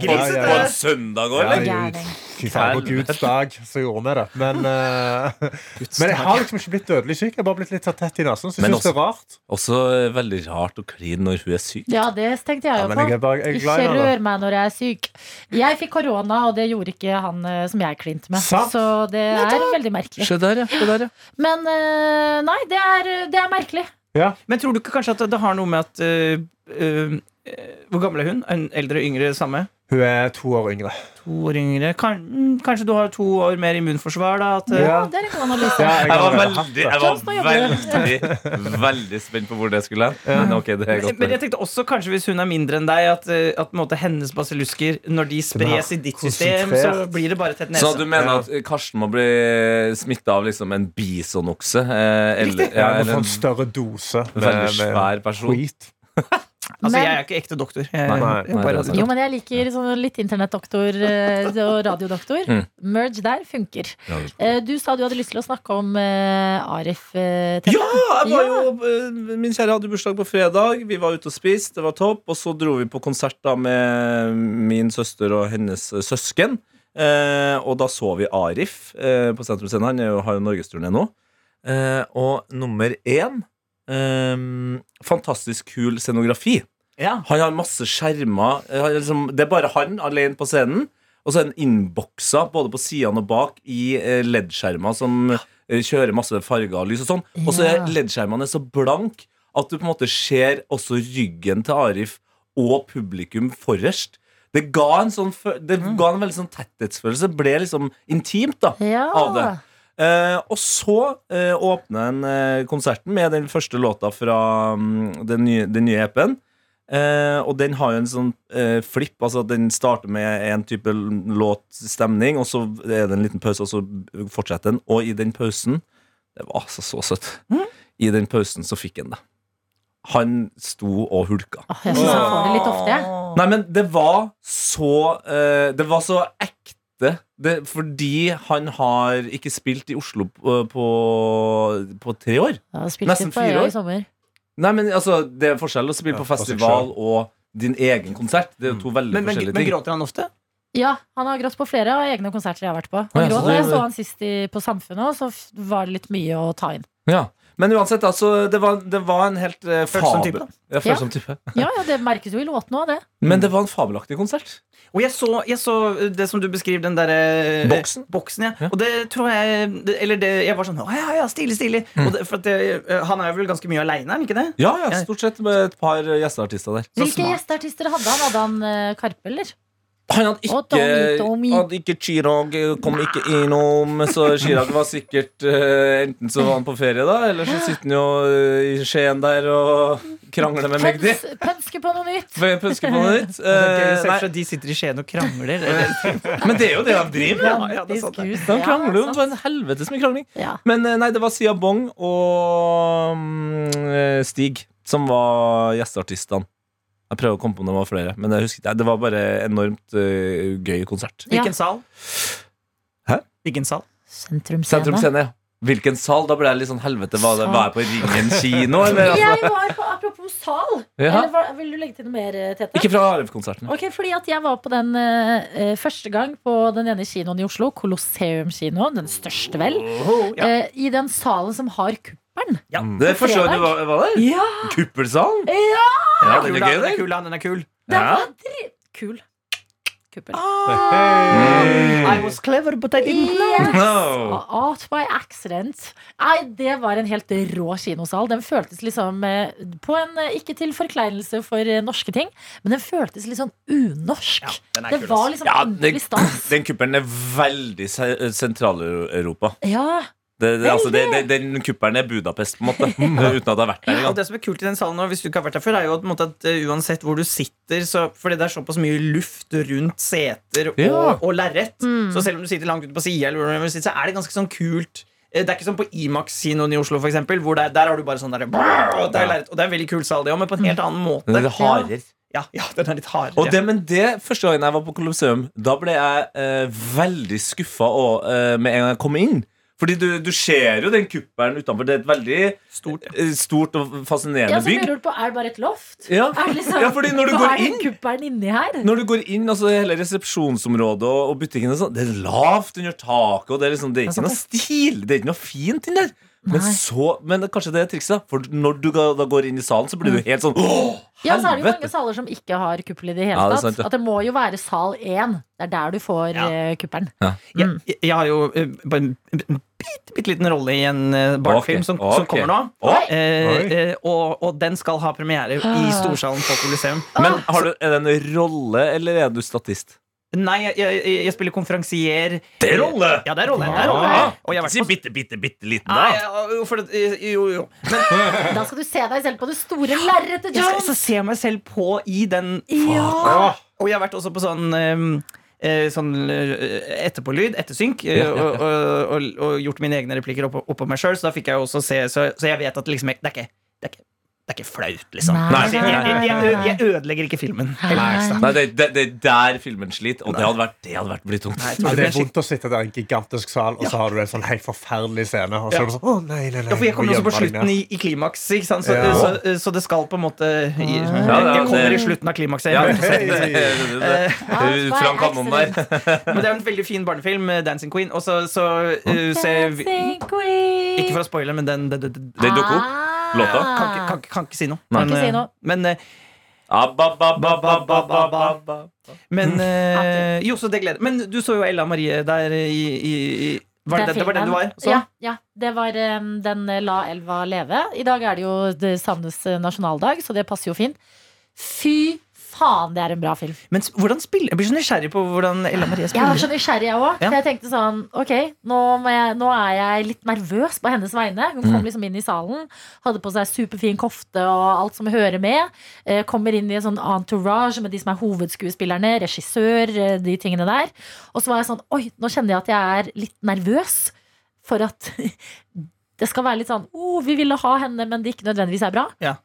[SPEAKER 4] Grisete!
[SPEAKER 5] På en søndag òg,
[SPEAKER 3] Ja,
[SPEAKER 5] eller?
[SPEAKER 3] det er jo- Fy faen, på Guds dag så gjorde vi det. Men, eh, men jeg har liksom ikke blitt dødelig syk. Jeg har bare blitt litt så tett i nesen. Så jeg
[SPEAKER 5] Men
[SPEAKER 3] syns det er rart.
[SPEAKER 5] Også eh, veldig rart å kline når hun er syk.
[SPEAKER 2] Ja, det tenkte jeg
[SPEAKER 3] Ja,
[SPEAKER 2] jo
[SPEAKER 3] men
[SPEAKER 2] på.
[SPEAKER 3] jeg er bare- jeg er glad i
[SPEAKER 2] ikke
[SPEAKER 3] henne, da.
[SPEAKER 2] rør meg når jeg er syk. Jeg fikk korona, og det gjorde ikke han eh, som jeg klinte med.
[SPEAKER 3] Sant.
[SPEAKER 2] Så det er veldig merkelig.
[SPEAKER 5] Se der, ja. Se der, ja.
[SPEAKER 2] Men eh, nei, det er, det er merkelig.
[SPEAKER 4] Men tror du ikke kanskje at det har noe med at eh, eh, Hvor gammel er hun? En eldre, yngre, samme?
[SPEAKER 3] Hun er to år yngre.
[SPEAKER 4] To år yngre kan, mm, Kanskje du har to år mer immunforsvar, da? At, eh,
[SPEAKER 3] Ja.
[SPEAKER 2] Ja, det er en god analyse.
[SPEAKER 3] Ja, jeg har
[SPEAKER 5] Jeg var
[SPEAKER 3] hatt
[SPEAKER 5] veldig,
[SPEAKER 3] det.
[SPEAKER 5] jeg
[SPEAKER 2] Sånn
[SPEAKER 5] var
[SPEAKER 2] jobber
[SPEAKER 5] veldig, veldig spent på hvor det skulle hen. Men ok, det er
[SPEAKER 4] Men,
[SPEAKER 5] godt.
[SPEAKER 4] men jeg tenkte også kanskje hvis hun er mindre enn deg, at, eh, at på en måte, hennes basillusker, når de spres i ditt system, så
[SPEAKER 3] konsentrert.
[SPEAKER 4] blir det bare tett nese.
[SPEAKER 5] Så du mener at eh, Karsten må bli smitta av liksom en bisonokse? eh, Eller, ja,
[SPEAKER 3] Ja, jeg må
[SPEAKER 5] eller
[SPEAKER 3] få
[SPEAKER 5] en
[SPEAKER 3] en større dose med,
[SPEAKER 5] veldig
[SPEAKER 3] med
[SPEAKER 5] svær person?
[SPEAKER 3] skit.
[SPEAKER 4] Altså,
[SPEAKER 2] Men-
[SPEAKER 4] jeg er ikke ekte doktor. Jeg,
[SPEAKER 5] Nei,
[SPEAKER 3] nei,
[SPEAKER 4] jeg bare,
[SPEAKER 5] det er
[SPEAKER 2] Jo, men jeg liker sånn litt internettdoktor eh, og radiodoktor.
[SPEAKER 5] Mm.
[SPEAKER 2] Merge der funker.
[SPEAKER 5] Ja.
[SPEAKER 2] Eh, Du sa du hadde lyst til å snakke om eh, Arif. eh, Tete.
[SPEAKER 5] Ja! Jeg var jo, eh, min kjære hadde bursdag på fredag. Vi var ute og spiste, det var topp. Og så dro vi på konsert da med min søster og hennes eh, søsken. Eh, og da så vi Arif eh, på Sentrum Scene. Han er jo- har jo norgesturné nå. Eh, og nummer én eh, Fantastisk kul scenografi.
[SPEAKER 4] ja.
[SPEAKER 5] Han har masse skjermer. eh, han er Liksom, det er bare han alene på scenen. Og så er han innboksa både på sidene og bak i eh, LED-skjermer som eh, kjører masse farger og lys og sånn. Og så er
[SPEAKER 2] Ja.
[SPEAKER 5] LED-skjermene så blank at du på en måte ser også ryggen til Arif og publikum forrest. Det ga en, sånn, fø- det ga en veldig sånn tetthetsfølelse. Ble liksom intimt, da.
[SPEAKER 2] Ja.
[SPEAKER 5] Av det. Eh, og så eh, åpna en eh, konserten med den første låta fra mm, den nye, den nye EP-en. Eh, og den har jo en sånn eh, flipp. Altså at Den starter med en type låtstemning, og så er det en liten pause, og så fortsetter den. Og i den pausen Det var altså så søtt. I den pausen så fikk han det. Han sto og hulka.
[SPEAKER 2] Åh, jeg syns jeg får det litt ofte. jeg.
[SPEAKER 5] Nei, men det var så eh, Det var så ekte det, Fordi han har ikke spilt i Oslo på, på, på tre år
[SPEAKER 2] Jeg har spilt
[SPEAKER 5] Nesten
[SPEAKER 2] litt på
[SPEAKER 5] fire
[SPEAKER 2] Øya
[SPEAKER 5] år.
[SPEAKER 2] i sommer.
[SPEAKER 5] Nei, men altså, det er forskjell å spille
[SPEAKER 3] Ja,
[SPEAKER 5] på
[SPEAKER 3] for seg
[SPEAKER 5] festival og din egen konsert Det er jo to veldig
[SPEAKER 4] Mm. Men, men,
[SPEAKER 5] forskjellige
[SPEAKER 4] men
[SPEAKER 5] ting
[SPEAKER 4] gråter han ofte?
[SPEAKER 2] Ja, han har grått på flere av egne konserter jeg har vært på.
[SPEAKER 5] Å, ja,
[SPEAKER 2] Han
[SPEAKER 5] så
[SPEAKER 2] gråt
[SPEAKER 5] det-
[SPEAKER 2] når jeg så han sist i, på Samfunnet, og så f- var det litt mye å ta inn.
[SPEAKER 5] ja. Men uansett, altså, det var, det var en helt uh,
[SPEAKER 4] Følsom type, da.
[SPEAKER 5] Ja, følsom type
[SPEAKER 2] Ja, ja, det merkes jo i låten òg, det.
[SPEAKER 5] Men det var en fabelaktig konsert
[SPEAKER 4] Og jeg så, jeg så eh, det som du beskriver, den derre eh,
[SPEAKER 5] Boksen?
[SPEAKER 4] boksen ja.
[SPEAKER 5] Ja.
[SPEAKER 4] Og det tror jeg det, Eller det, jeg var sånn Å ja, ja, stilig, stilig.
[SPEAKER 5] Mm.
[SPEAKER 4] Og det, for at det, eh, han er vel ganske mye aleine, er han ikke det?
[SPEAKER 5] Ja, ja, stort sett med et par gjesteartister der
[SPEAKER 4] Så
[SPEAKER 2] Hvilke
[SPEAKER 4] smart.
[SPEAKER 2] gjesteartister hadde han? Hadde han eh, Karpe, eller?
[SPEAKER 5] Han hadde
[SPEAKER 2] Og
[SPEAKER 5] ikke,
[SPEAKER 2] Tommy, Tommy.
[SPEAKER 5] hadde ikke Chirag eh, kom ikke innom, så Chirag var sikkert eh, Enten så var han på ferie, da, eller så sitter han jo eh, i Skien der og krangler med Magdi.
[SPEAKER 2] Pøns, pønske på noe nytt!
[SPEAKER 5] For jeg Pønsker på noe nytt.
[SPEAKER 4] Det er gøy å
[SPEAKER 5] Eh,
[SPEAKER 4] se for
[SPEAKER 5] nei,
[SPEAKER 4] seg at De sitter i Skien og krangler. Eller,
[SPEAKER 5] men det er jo det han driver med.
[SPEAKER 4] ja, det er sant, det.
[SPEAKER 2] Hus,
[SPEAKER 5] Han
[SPEAKER 2] ja,
[SPEAKER 5] krangler jo
[SPEAKER 2] sant.
[SPEAKER 5] på en helvetes mye krangling.
[SPEAKER 2] Ja.
[SPEAKER 5] Men eh, nei, det var Sia Bong og mm, eh, Stig som var gjesteartistene. Jeg prøver å komme på om det var flere, men jeg husker, ikke. det var bare enormt eh, gøy konsert.
[SPEAKER 4] hvilken sal?
[SPEAKER 5] Hæ?
[SPEAKER 4] Hvilken sal?
[SPEAKER 5] Sentrum
[SPEAKER 2] Sentrumsscene.
[SPEAKER 5] Scene, ja. Hvilken sal? Da ble jeg litt sånn helvete. Var, det, var jeg på Ringen kino, eller?
[SPEAKER 2] Jeg var på, apropos kolossal.
[SPEAKER 5] Ja.
[SPEAKER 2] Eller hva, vil du legge til noe mer, eh, Tete?
[SPEAKER 5] Ikke fra ARF-konserten.
[SPEAKER 2] Ok, fordi at jeg var på den eh, eh, første gang på den ene kinoen i Oslo, Colosseum kino, den største vel,
[SPEAKER 4] ja.
[SPEAKER 2] eh, i den salen som har kuppelen.
[SPEAKER 5] Mm. Det forstår jeg du var, var der.
[SPEAKER 2] Ja!
[SPEAKER 5] Kuppelsalen.
[SPEAKER 2] ja!
[SPEAKER 5] Ja,
[SPEAKER 4] Den
[SPEAKER 5] den
[SPEAKER 4] er
[SPEAKER 5] er
[SPEAKER 4] kul, da.
[SPEAKER 5] gøy,
[SPEAKER 4] Den er
[SPEAKER 5] den.
[SPEAKER 4] kul, da. Den er kul.
[SPEAKER 2] Den var
[SPEAKER 5] Ja.
[SPEAKER 2] dritkul. Kuppel.
[SPEAKER 3] Hei.
[SPEAKER 4] I was clever, but I didn't know.
[SPEAKER 2] Yes!
[SPEAKER 5] No.
[SPEAKER 2] Ah, Art by accident. Nei, det var en helt rå kinosal. Den føltes liksom eh, På en eh, ikke til forkleinelse for eh, norske ting, men den føltes litt sånn unorsk.
[SPEAKER 4] den er
[SPEAKER 2] det
[SPEAKER 4] kul,
[SPEAKER 2] var
[SPEAKER 4] ass.
[SPEAKER 2] liksom
[SPEAKER 5] Ja, den,
[SPEAKER 2] ordentlig stas.
[SPEAKER 5] den kuppelen er veldig se- Sentral-Europa.
[SPEAKER 2] Ja,
[SPEAKER 5] Det, det, altså, det, det, den kuppelen er Budapest, på en måte. Uten at jeg har vært der
[SPEAKER 4] Og
[SPEAKER 5] engang.
[SPEAKER 4] det som er kult i den salen, nå, hvis du ikke har vært der før, er jo at, på en måte, at eh, uansett hvor du sitter, så, fordi det er såpass mye luft rundt seter og,
[SPEAKER 5] Ja.
[SPEAKER 4] og lerret, så selv om du sitter langt ute på sida, eller hvor du sitter, så er det ganske sånn kult. Eh, Det er ikke som på Imax-kinoen i Oslo, for eksempel, hvor det er, der har du bare sånn der, brrr, og det er lerret. Og det er en veldig kul sal, det òg, men på en helt annen måte.
[SPEAKER 5] Den er hardere.
[SPEAKER 4] Ja, ja, den er litt hardere.
[SPEAKER 5] Mm. Og det, men det, Første gangen jeg var på Colosseum, da ble jeg eh, veldig skuffa eh, med en gang jeg kom inn. Fordi du, du ser jo den kuppelen utenfor. Det er et veldig
[SPEAKER 4] Stort. ja.
[SPEAKER 5] eh, stort og fascinerende
[SPEAKER 2] ja så
[SPEAKER 5] bygg.
[SPEAKER 2] lurer du på er det bare et loft?
[SPEAKER 5] Ja.
[SPEAKER 2] Er det liksom,
[SPEAKER 5] Ja, fordi når du
[SPEAKER 2] hva
[SPEAKER 5] går
[SPEAKER 2] er den
[SPEAKER 5] inn-
[SPEAKER 2] kuppelen inni her?
[SPEAKER 5] Når du går inn, altså det hele resepsjonsområdet og, og butikken og sånn, Det er lavt under taket, og det er, liksom, det er ikke noe stil. Det er ikke noe fint inni der. Men,
[SPEAKER 2] Nei.
[SPEAKER 5] så, men kanskje det er trikset. da. For når du ga- da går inn i salen, så blir du helt sånn Åh,
[SPEAKER 2] Ja, så er det jo mange
[SPEAKER 5] helvete!
[SPEAKER 2] saler som ikke har kuppel i det hele
[SPEAKER 5] Ja, det er
[SPEAKER 2] tatt.
[SPEAKER 5] sant, det.
[SPEAKER 2] At det må jo være sal én. Det er der du får
[SPEAKER 4] Ja.
[SPEAKER 2] eh, kuppelen.
[SPEAKER 4] Jeg, jeg, jeg har jo eh, bare en bitte, bitte liten rolle i en eh, barnefilm som, som
[SPEAKER 5] Ok.
[SPEAKER 4] kommer nå.
[SPEAKER 5] Åh,
[SPEAKER 4] Eh,
[SPEAKER 3] Oi.
[SPEAKER 4] eh, og, og den skal ha premiere i Storsalen på Coliseum.
[SPEAKER 5] men har du, er det en rolle, eller er du statist?
[SPEAKER 4] Nei, jeg, jeg, jeg spiller konferansier.
[SPEAKER 5] Det er rolle!
[SPEAKER 4] Ja, det er rolle.
[SPEAKER 2] Ah.
[SPEAKER 4] Det er rolle.
[SPEAKER 5] Ja.
[SPEAKER 4] Eh, Og jeg har
[SPEAKER 5] Ah, Si
[SPEAKER 4] vært på
[SPEAKER 5] bitte, bitte, bitte liten,
[SPEAKER 4] Nei,
[SPEAKER 5] da.
[SPEAKER 4] jeg- jo, for det, jo, jo.
[SPEAKER 2] Da skal du se deg selv på det store lerretet,
[SPEAKER 4] Jeg skal
[SPEAKER 2] Jones!
[SPEAKER 4] også se meg selv på i den
[SPEAKER 2] Ja.
[SPEAKER 3] Åh,
[SPEAKER 4] Og jeg har vært også på sånn ehm, eh, Sånn eh, etterpålyd, ettersynk, eh, og, og, og, og gjort mine egne replikker oppå opp på meg sjøl, så da fikk jeg jo også se Så, så jeg vet at liksom, jeg- det, er ikke, det, er ikke, det er ikke flaut, liksom.
[SPEAKER 2] Nei.
[SPEAKER 4] Så Jeg, jeg, jeg, ø- jeg ødelegger ikke filmen.
[SPEAKER 2] Nei.
[SPEAKER 5] Nei, det, det, det er der filmen sliter, og det hadde vært, det hadde vært blitt tungt.
[SPEAKER 4] Nei, jeg tror
[SPEAKER 3] Ja,
[SPEAKER 4] det
[SPEAKER 3] det er
[SPEAKER 4] blir
[SPEAKER 3] vondt å sitte der i en gigantisk sal, og så har du en sånn helt forferdelig scene. Og så
[SPEAKER 4] Ja.
[SPEAKER 3] er du sånn, å nei, nei, nei
[SPEAKER 4] Ja, for jeg kommer
[SPEAKER 3] må
[SPEAKER 4] også på
[SPEAKER 3] gjemme deg
[SPEAKER 4] slutten
[SPEAKER 3] ned.
[SPEAKER 4] i, i klimaks, ikke sant? Så,
[SPEAKER 3] Ja.
[SPEAKER 4] så, så det skal på en måte i,
[SPEAKER 5] Mm. ja,
[SPEAKER 4] Jeg kommer
[SPEAKER 5] det-
[SPEAKER 4] i slutten av klimakset.
[SPEAKER 5] Ja,
[SPEAKER 4] jeg vet.
[SPEAKER 5] det- det- det- det- Frank Hammond der.
[SPEAKER 4] Men det er en veldig fin barnefilm, eh, 'Dancing Queen'. Og så, så eh, se
[SPEAKER 2] Dancing queen.
[SPEAKER 4] Ikke for å spoile, men den, den, den, den
[SPEAKER 5] Det dukker opp.
[SPEAKER 2] Ah.
[SPEAKER 5] Låta.
[SPEAKER 4] kan, ikke, kan, ikke- kan ikke si noe.
[SPEAKER 5] Nei.
[SPEAKER 2] Kan ikke
[SPEAKER 4] eh,
[SPEAKER 2] si noe.
[SPEAKER 4] men, eh,
[SPEAKER 5] Abba, Ah, ba, ba, ba, ba, ba, ba, ba. Mm.
[SPEAKER 4] men eh, Jo, så det gleder Men du så jo Ella Marie der i, i, i var det, det var den du var? Så?
[SPEAKER 5] Sånn.
[SPEAKER 2] Ja, ja. Det var em, den eh, La elva leve. I dag er det jo det samenes eh, nasjonaldag, så det passer jo fint. Fy faen, det er en bra film.
[SPEAKER 4] Men s- hvordan spiller Jeg blir så nysgjerrig på hvordan Ella Marie
[SPEAKER 2] Jeg var
[SPEAKER 4] spiller.
[SPEAKER 2] så nysgjerrig, jeg òg.
[SPEAKER 4] Ja.
[SPEAKER 2] For jeg tenkte sånn Ok, nå, må jeg, nå er jeg litt nervøs på hennes vegne. Hun kom liksom inn i salen, hadde på seg superfin kofte og alt som hører med. Eh, kommer inn i en sånn entourage med de som er hovedskuespillerne, regissør, eh, de tingene der. Og så var jeg sånn Oi, nå kjenner jeg at jeg er litt nervøs for at det skal være litt sånn oh, vi ville ha henne, men det ikke nødvendigvis er bra.
[SPEAKER 4] Ja.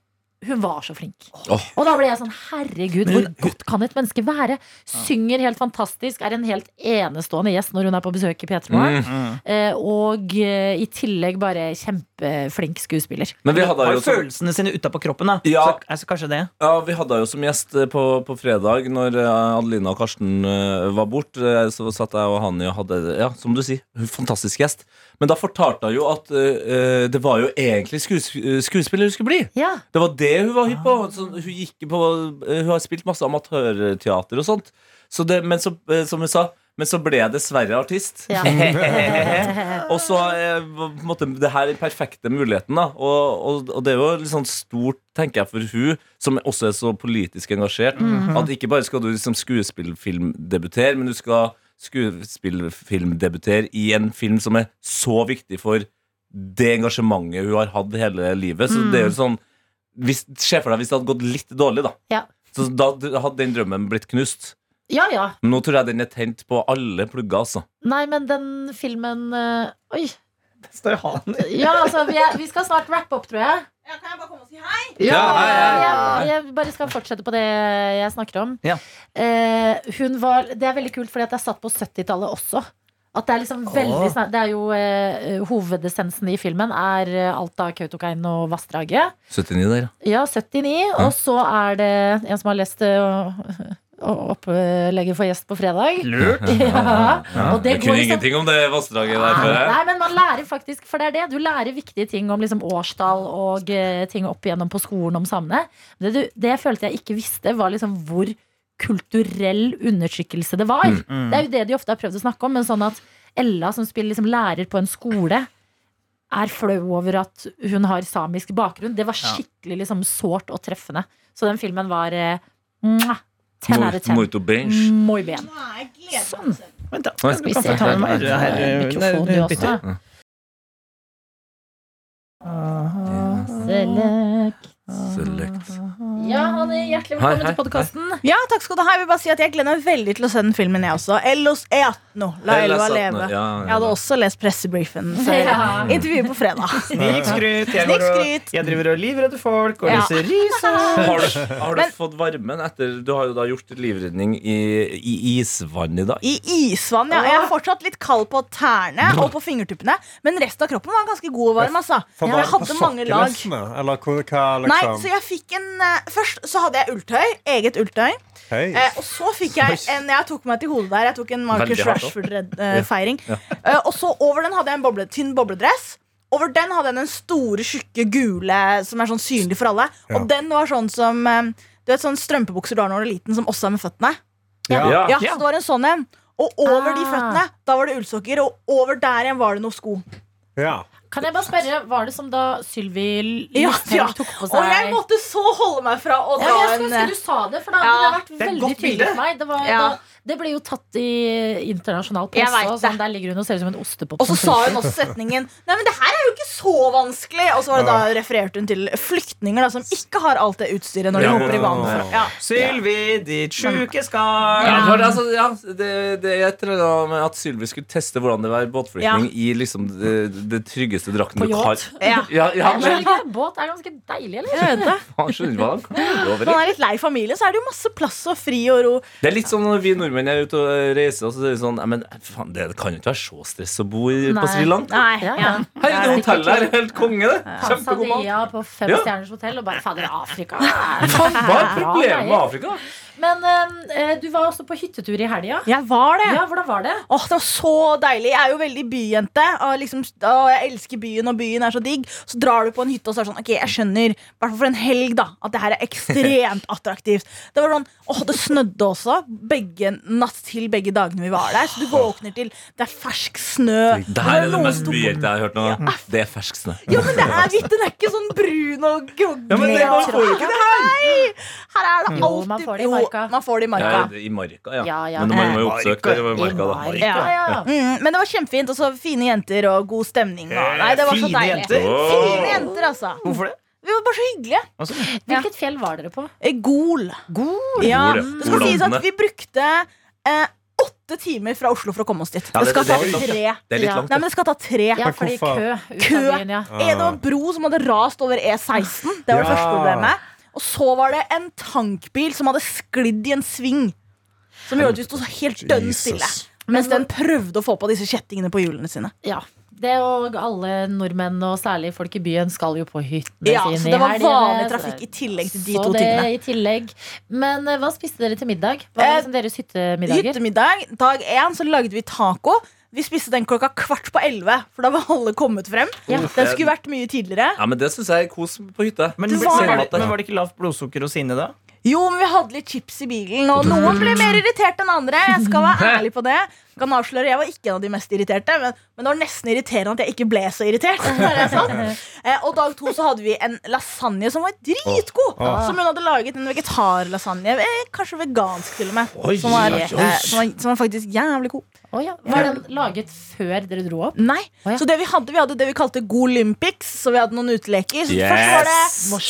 [SPEAKER 2] Hun var så flink.
[SPEAKER 5] Åh.
[SPEAKER 2] Og da ble jeg sånn Herregud,
[SPEAKER 4] Men
[SPEAKER 2] hvor
[SPEAKER 4] hun-
[SPEAKER 2] godt kan et menneske være? Synger helt fantastisk, er en helt enestående gjest når hun er på besøk i P3 Morgen.
[SPEAKER 4] Mm.
[SPEAKER 2] Eh, og eh, i tillegg bare kjempeflink skuespiller.
[SPEAKER 5] Men vi hadde
[SPEAKER 4] Har
[SPEAKER 5] jo
[SPEAKER 4] jo
[SPEAKER 5] som,
[SPEAKER 4] følelsene sine utapå kroppen, da.
[SPEAKER 5] Ja.
[SPEAKER 4] Så, altså, kanskje det.
[SPEAKER 5] ja, vi hadde jo som gjest eh, på, på fredag, når eh, Adelina og Karsten eh, var bort eh, så satt jeg og Hani og hadde Ja, som du sier, hun er fantastisk gjest. Men da fortalte hun jo at eh, eh, det var jo egentlig skues, skuespiller hun skulle bli.
[SPEAKER 2] Ja,
[SPEAKER 5] Det var det hun var hypp på. Så hun, gikk på eh, hun har spilt masse amatørteater og sånt. Så det, men så, eh, som hun sa men så ble jeg dessverre artist.
[SPEAKER 2] Ja.
[SPEAKER 5] og så eh, var på en måte, det her er den perfekte muligheten. da og, og, og det er jo litt sånn stort, tenker jeg, for hun som også er så politisk engasjert. At ikke bare skal du liksom skuespillfilmdebutere, men du skal skuespillfilmdebutere i en film som er så viktig for det engasjementet hun har hatt hele livet. Så det er jo sånn hvis, Se for deg hvis det hadde gått litt dårlig, da.
[SPEAKER 2] Ja.
[SPEAKER 5] Så da hadde den drømmen blitt knust.
[SPEAKER 2] ja. ja.
[SPEAKER 5] Men Nå tror jeg den er tent på alle plugger, altså.
[SPEAKER 2] Nei, men den filmen eh, Oi.
[SPEAKER 4] Står han
[SPEAKER 2] Ja, altså, vi, er, vi skal snart wrappe opp, tror jeg.
[SPEAKER 6] Ja, kan jeg bare komme og si hei?
[SPEAKER 5] Ja, hei, hei, hei.
[SPEAKER 2] Jeg, jeg bare skal fortsette på det jeg snakker om.
[SPEAKER 4] Ja.
[SPEAKER 2] Eh, hun var, det er veldig kult, fordi at jeg satt på 70-tallet også. At det er liksom veldig snar- Det er jo eh, hovedessensen i filmen er eh, alt av Kautokeino og vassdraget.
[SPEAKER 5] 79 der, ja.
[SPEAKER 2] Ja, 79. Og så er det en som har lest eh, og- opplegget for gjest på fredag.
[SPEAKER 4] Lurt.
[SPEAKER 2] Ja. Og det
[SPEAKER 5] Jeg
[SPEAKER 2] går
[SPEAKER 5] kunne
[SPEAKER 2] liksom
[SPEAKER 5] ingenting om det vassdraget der før. jeg.
[SPEAKER 2] Nei, men man lærer faktisk For det er det, du lærer viktige ting om liksom årstall og eh, ting opp igjennom på skolen om samene. Men Det, du, det jeg følte jeg ikke visste, var liksom hvor kulturell undertrykkelse det var.
[SPEAKER 4] Mm.
[SPEAKER 2] Det er jo det de ofte har prøvd å snakke om, men sånn at Ella som spiller liksom lærer på en skole er flau over at hun har samisk bakgrunn. Det var skikkelig liksom sårt og treffende. Så den filmen var eh, mwah, 10 out of 10.
[SPEAKER 5] Muito bench.
[SPEAKER 2] Muy bien. Sånn.
[SPEAKER 4] Vent, da.
[SPEAKER 5] Nei,
[SPEAKER 4] Du kan få ta med meg.
[SPEAKER 2] Her,
[SPEAKER 4] Her,
[SPEAKER 2] eh, mikrofonen,
[SPEAKER 4] nei,
[SPEAKER 2] du
[SPEAKER 4] bytte.
[SPEAKER 2] også. Mm. Select.
[SPEAKER 5] Select.
[SPEAKER 2] Ja, Hanne, hjertelig
[SPEAKER 5] Hei,
[SPEAKER 2] velkommen
[SPEAKER 5] hei,
[SPEAKER 2] til podkasten.
[SPEAKER 6] Ja, takk skal du ha. Jeg vil bare si at jeg gleder meg veldig til å se den filmen, jeg også. Ellos E18. La
[SPEAKER 5] E
[SPEAKER 6] elva leve.
[SPEAKER 5] Ja,
[SPEAKER 6] Jeg
[SPEAKER 5] ja,
[SPEAKER 6] hadde også lest pressebriefen før
[SPEAKER 2] Ja.
[SPEAKER 6] intervjuet på fredag.
[SPEAKER 4] Snikskryt. Jeg, går og-
[SPEAKER 6] Snikskryt.
[SPEAKER 4] jeg driver og livredder folk og
[SPEAKER 6] Ja.
[SPEAKER 4] lyser risor.
[SPEAKER 5] Har du, har du fått varmen etter Du har jo da gjort livredning i, i isvann i dag.
[SPEAKER 6] I isvann, ja. Jeg er fortsatt litt kald på tærne og på fingertuppene, men resten av kroppen var ganske god og varm, altså.
[SPEAKER 3] For
[SPEAKER 6] Jeg
[SPEAKER 3] var det på
[SPEAKER 6] hadde mange lag.
[SPEAKER 3] sokkelestene? Eller hvor, hva,
[SPEAKER 6] Nei,
[SPEAKER 3] liksom?
[SPEAKER 6] så jeg fikk en eh, Først så hadde jeg ulltøy. Eget ulltøy.
[SPEAKER 3] Hei.
[SPEAKER 6] Eh, og så fikk jeg en Jeg tok meg til hodet der. Jeg tok en Marcus
[SPEAKER 5] Veldig hardt også.
[SPEAKER 6] Rashford-feiring. eh, og så over den hadde jeg en boble, tynn bobledress. Over den hadde jeg den store, tjukke, gule som er sånn synlig for alle.
[SPEAKER 3] Ja.
[SPEAKER 6] Og den var sånn som eh, Du vet sånn strømpebukser du har når du er liten, som også er med føttene.
[SPEAKER 3] ja.
[SPEAKER 6] Ja, så det var en sånn en. Og over de
[SPEAKER 2] Ah.
[SPEAKER 6] føttene da var det ullsokker, og over der igjen var det noen sko.
[SPEAKER 3] ja.
[SPEAKER 2] Kan jeg bare spørre, var det som da Sylvi
[SPEAKER 6] Ja,
[SPEAKER 2] Listhaug
[SPEAKER 6] ja.
[SPEAKER 2] tok på
[SPEAKER 6] Og
[SPEAKER 2] seg
[SPEAKER 6] jeg måtte så holde meg fra å
[SPEAKER 2] ja,
[SPEAKER 6] dra
[SPEAKER 2] men Jeg skulle
[SPEAKER 6] en
[SPEAKER 2] ønske
[SPEAKER 6] eh,
[SPEAKER 2] du sa det, for da
[SPEAKER 6] Ja.
[SPEAKER 2] hadde det vært
[SPEAKER 4] Det er et
[SPEAKER 2] veldig
[SPEAKER 4] godt
[SPEAKER 2] tydelig
[SPEAKER 4] bilde.
[SPEAKER 2] for meg. Det, var,
[SPEAKER 6] Ja.
[SPEAKER 2] da, det ble jo tatt i internasjonal
[SPEAKER 6] Jeg
[SPEAKER 2] presse.
[SPEAKER 6] vet
[SPEAKER 2] Og sånn,
[SPEAKER 6] det.
[SPEAKER 2] der ligger hun og ser ut som en ostepop.
[SPEAKER 6] Og så sa
[SPEAKER 2] som
[SPEAKER 6] hun også setningen Nei, men det her er jo ikke så vanskelig. Og så var det da refererte hun til flyktninger da, som ikke har alt det utstyret når de
[SPEAKER 5] Ja.
[SPEAKER 6] hopper i vannet. fra- Ja.
[SPEAKER 4] Sylvi, ditt sjuke skall.
[SPEAKER 5] Ja, det, var det, altså, ja, det, det, jeg trena med at Sylvi skulle teste hvordan det var båtflyktning i liksom det, det tryggeste drakten
[SPEAKER 2] På
[SPEAKER 5] du kan.
[SPEAKER 2] yacht.
[SPEAKER 6] Ja.
[SPEAKER 5] Ja, ja,
[SPEAKER 2] flyr.
[SPEAKER 5] men
[SPEAKER 2] Men Båt er ganske deilig, eller?
[SPEAKER 6] Jeg vet det.
[SPEAKER 5] faen, skjønner du hva de kommer over
[SPEAKER 6] Når
[SPEAKER 5] i?
[SPEAKER 6] man er litt lei familie, så er det jo masse plass og fri og ro.
[SPEAKER 5] Det er litt sånn når vi nordmenn er ute og reiser, og så er det sånn «Nei, men, faen, Det kan jo ikke være så stress å bo i, på
[SPEAKER 2] Nei.
[SPEAKER 5] Sri Lanka.
[SPEAKER 6] Nei,
[SPEAKER 2] Ja,
[SPEAKER 6] ja.
[SPEAKER 2] ja.
[SPEAKER 5] Hei, det hotellet her er helt konge, det. Kjempegod mat.
[SPEAKER 2] Tanzania på fem
[SPEAKER 5] Ja.
[SPEAKER 2] stjerners hotell, og bare fader, Afrika
[SPEAKER 5] Hva er
[SPEAKER 2] Bra
[SPEAKER 5] problemet med
[SPEAKER 2] greier.
[SPEAKER 5] Afrika?
[SPEAKER 2] Men eh, du var også på hyttetur i helga.
[SPEAKER 6] Jeg var det.
[SPEAKER 2] Ja, hvordan var det?
[SPEAKER 6] Åh, det var så deilig. Jeg er jo veldig byjente. Og liksom, åh, jeg elsker byen, og byen er så digg. Så drar du på en hytte, og så er det sånn Ok, jeg skjønner, i hvert fall for en helg, da, at det her er ekstremt attraktivt. Det var sånn, åh, det snødde også begge, natt til begge dagene vi var der. Så du våkner til Det er fersk snø.
[SPEAKER 5] Det her er det
[SPEAKER 6] noen
[SPEAKER 5] mest
[SPEAKER 6] store-
[SPEAKER 5] byhjelte jeg har hørt nå. Det er fersk snø.
[SPEAKER 6] Ja, men det er hvitt. Den er ikke sånn brun og groggy.
[SPEAKER 4] Ja, men det, man får jo ikke det her!
[SPEAKER 6] Nei! Her er det
[SPEAKER 2] Jo,
[SPEAKER 6] alltid
[SPEAKER 2] man får det i marka.
[SPEAKER 6] Jo, man får det i marka.
[SPEAKER 5] Ja, det- I Marka, ja.
[SPEAKER 2] Ja, ja.
[SPEAKER 5] Men man må jo oppsøke det.
[SPEAKER 2] I
[SPEAKER 5] var Marka, da.
[SPEAKER 2] Marka,
[SPEAKER 6] Ja.
[SPEAKER 2] ja.
[SPEAKER 6] Mm, men det var kjempefint. Og så fine jenter og god stemning. Og, nei, det var så
[SPEAKER 4] Fine
[SPEAKER 6] deilig.
[SPEAKER 4] jenter.
[SPEAKER 6] Fine jenter, altså.
[SPEAKER 4] Hvorfor det? Altså,
[SPEAKER 6] Vi var bare så hyggelige.
[SPEAKER 2] Hvilket fjell var dere på?
[SPEAKER 6] Eh, Gol.
[SPEAKER 2] God
[SPEAKER 6] Ja,
[SPEAKER 5] Gol, ja.
[SPEAKER 6] det skal
[SPEAKER 5] Gol,
[SPEAKER 6] sies at
[SPEAKER 5] Landene.
[SPEAKER 6] vi brukte eh, åtte timer fra Oslo for å komme oss dit.
[SPEAKER 5] Ja,
[SPEAKER 6] Det
[SPEAKER 5] det-
[SPEAKER 6] skal
[SPEAKER 5] det-
[SPEAKER 6] ta
[SPEAKER 5] det-
[SPEAKER 6] tre.
[SPEAKER 5] Det er litt
[SPEAKER 2] Ja.
[SPEAKER 5] langt.
[SPEAKER 6] Nei, men det skal ta tre.
[SPEAKER 2] Ja,
[SPEAKER 3] Men
[SPEAKER 2] fordi kø
[SPEAKER 3] hvorfor-
[SPEAKER 2] ut
[SPEAKER 6] Kø.
[SPEAKER 2] av byen, ja.
[SPEAKER 6] Eh, Det var en bro som hadde rast over E16. Det var det
[SPEAKER 3] Ja.
[SPEAKER 6] første problemet. Og så var det en tankbil som hadde sklidd i en sving. Som gjorde at vi sto helt dønn stille.
[SPEAKER 3] Jesus.
[SPEAKER 6] Mens den prøvde å få på disse kjettingene på hjulene sine.
[SPEAKER 2] ja. Det og alle nordmenn, og særlig folk i byen, skal jo på hyttene
[SPEAKER 6] Ja,
[SPEAKER 2] sine
[SPEAKER 6] så det
[SPEAKER 2] i
[SPEAKER 6] var
[SPEAKER 2] helgene,
[SPEAKER 6] vanlig
[SPEAKER 2] så
[SPEAKER 6] trafikk i
[SPEAKER 2] det-
[SPEAKER 6] tillegg til de
[SPEAKER 2] så
[SPEAKER 6] to
[SPEAKER 2] det
[SPEAKER 6] tingene.
[SPEAKER 2] i tillegg. Men eh, hva spiste dere til middag? Hva var
[SPEAKER 6] Eh,
[SPEAKER 2] liksom deres hyttemiddager?
[SPEAKER 6] Hyttemiddag. Dag én så lagde vi taco. Vi spiste den klokka kvart på elleve, for da var alle kommet frem.
[SPEAKER 2] Ja.
[SPEAKER 6] Den skulle vært mye tidligere.
[SPEAKER 5] Ja, men Det syns jeg er kos på hytta.
[SPEAKER 4] Men,
[SPEAKER 6] Det
[SPEAKER 4] men,
[SPEAKER 6] var-
[SPEAKER 4] men, var det ikke lavt blodsukker hos Ine da?
[SPEAKER 6] Jo, men vi hadde litt chips i bilen, og noen ble mer irritert enn andre. Jeg skal være ærlig på det. Jeg Kan avsløre, jeg var ikke en av de mest irriterte, men, men det var nesten irriterende at jeg ikke ble så irritert. Der jeg satt. Eh, og dag to så hadde vi en lasagne som var dritgod.
[SPEAKER 3] Åh.
[SPEAKER 6] Som hun hadde laget. En vegetarlasagne. Eh, kanskje vegansk, til og med.
[SPEAKER 5] Oi,
[SPEAKER 6] Som var, eh,
[SPEAKER 5] oi, oi.
[SPEAKER 6] som var, som var faktisk jævlig god.
[SPEAKER 2] Å ja. Var den laget før dere dro opp?
[SPEAKER 6] Nei,
[SPEAKER 2] Å, ja.
[SPEAKER 6] så det vi hadde, vi hadde det vi kalte Golympics, så vi hadde noen uteleker. Så Først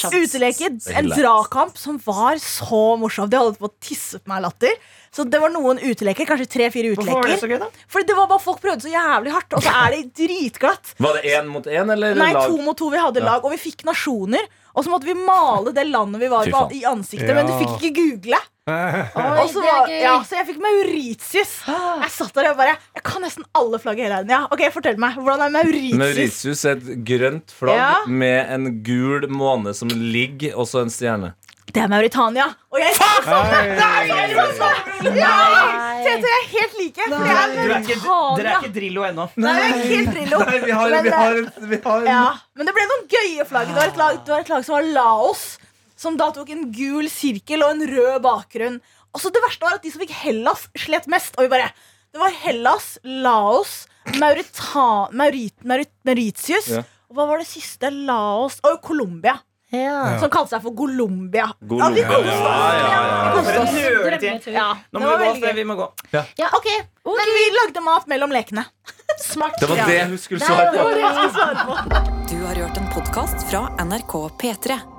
[SPEAKER 6] var det uteleker, en dragkamp som var så morsom. De holdt på å tisse på meg av latter. Så det var noen uteleker, kanskje tre-fire
[SPEAKER 4] Hvorfor var det så
[SPEAKER 6] uteleker.
[SPEAKER 4] gøy, da?
[SPEAKER 6] Fordi det var bare folk prøvde så jævlig hardt, og så er det dritglatt.
[SPEAKER 5] Var det én mot én, eller
[SPEAKER 6] Nei,
[SPEAKER 5] lag?
[SPEAKER 6] to mot to vi hadde lag, og vi fikk nasjoner. Og så måtte vi male det landet vi var
[SPEAKER 5] Fy
[SPEAKER 6] på,
[SPEAKER 5] faen.
[SPEAKER 6] i ansiktet. Men du
[SPEAKER 3] Ja.
[SPEAKER 6] fikk ikke google.
[SPEAKER 2] Oi,
[SPEAKER 6] Og så
[SPEAKER 2] det er
[SPEAKER 6] var,
[SPEAKER 2] gøy.
[SPEAKER 6] ja, så jeg fikk Mauritius. Jeg satt der og bare Jeg kan nesten alle flagg i hele verden. Ja, ok, fortell meg, Hvordan er Mauritius?
[SPEAKER 5] Mauritius er et grønt flagg
[SPEAKER 6] Ja.
[SPEAKER 5] med en gul måne som ligger, og så en stjerne.
[SPEAKER 6] Det er Mauritania. Og jeg
[SPEAKER 2] Nei.
[SPEAKER 6] Tete og jeg er helt like. For jeg er
[SPEAKER 4] Dere er ikke, dere er
[SPEAKER 6] Mauritania.
[SPEAKER 4] ikke Drillo ennå.
[SPEAKER 6] Nei, jeg er helt Drillo.
[SPEAKER 5] vi har,
[SPEAKER 6] Men,
[SPEAKER 5] vi
[SPEAKER 6] eh,
[SPEAKER 5] har, vi har
[SPEAKER 6] Ja, men det ble noen gøye flagg. Det var et lag, det var et lag som var Laos, som da tok en gul sirkel og en rød bakgrunn. Og så det verste var at de som fikk Hellas, slet mest. Og vi bare, Det var Hellas, Laos, Maurita, Maurit, Maurit, Mauritius
[SPEAKER 5] Ja.
[SPEAKER 6] Og hva var det siste? Laos Og Colombia.
[SPEAKER 2] Ja.
[SPEAKER 6] Som kalte seg for Golombia.
[SPEAKER 5] Golombia.
[SPEAKER 6] Ja, vi koste oss.
[SPEAKER 5] Ja, ja, ja.
[SPEAKER 6] Vi koste oss.
[SPEAKER 2] Drømmetur.
[SPEAKER 6] Ja,
[SPEAKER 4] Nå
[SPEAKER 6] det
[SPEAKER 4] må vi
[SPEAKER 6] var
[SPEAKER 4] gå.
[SPEAKER 6] veldig
[SPEAKER 4] Astrid,
[SPEAKER 6] gøy.
[SPEAKER 4] Vi må gå.
[SPEAKER 2] Ja,
[SPEAKER 6] Ok, Men vi lagde mat mellom lekene.
[SPEAKER 2] smart.
[SPEAKER 5] Det var det hun skulle svare på.
[SPEAKER 1] Du har hørt en podkast fra NRK P3.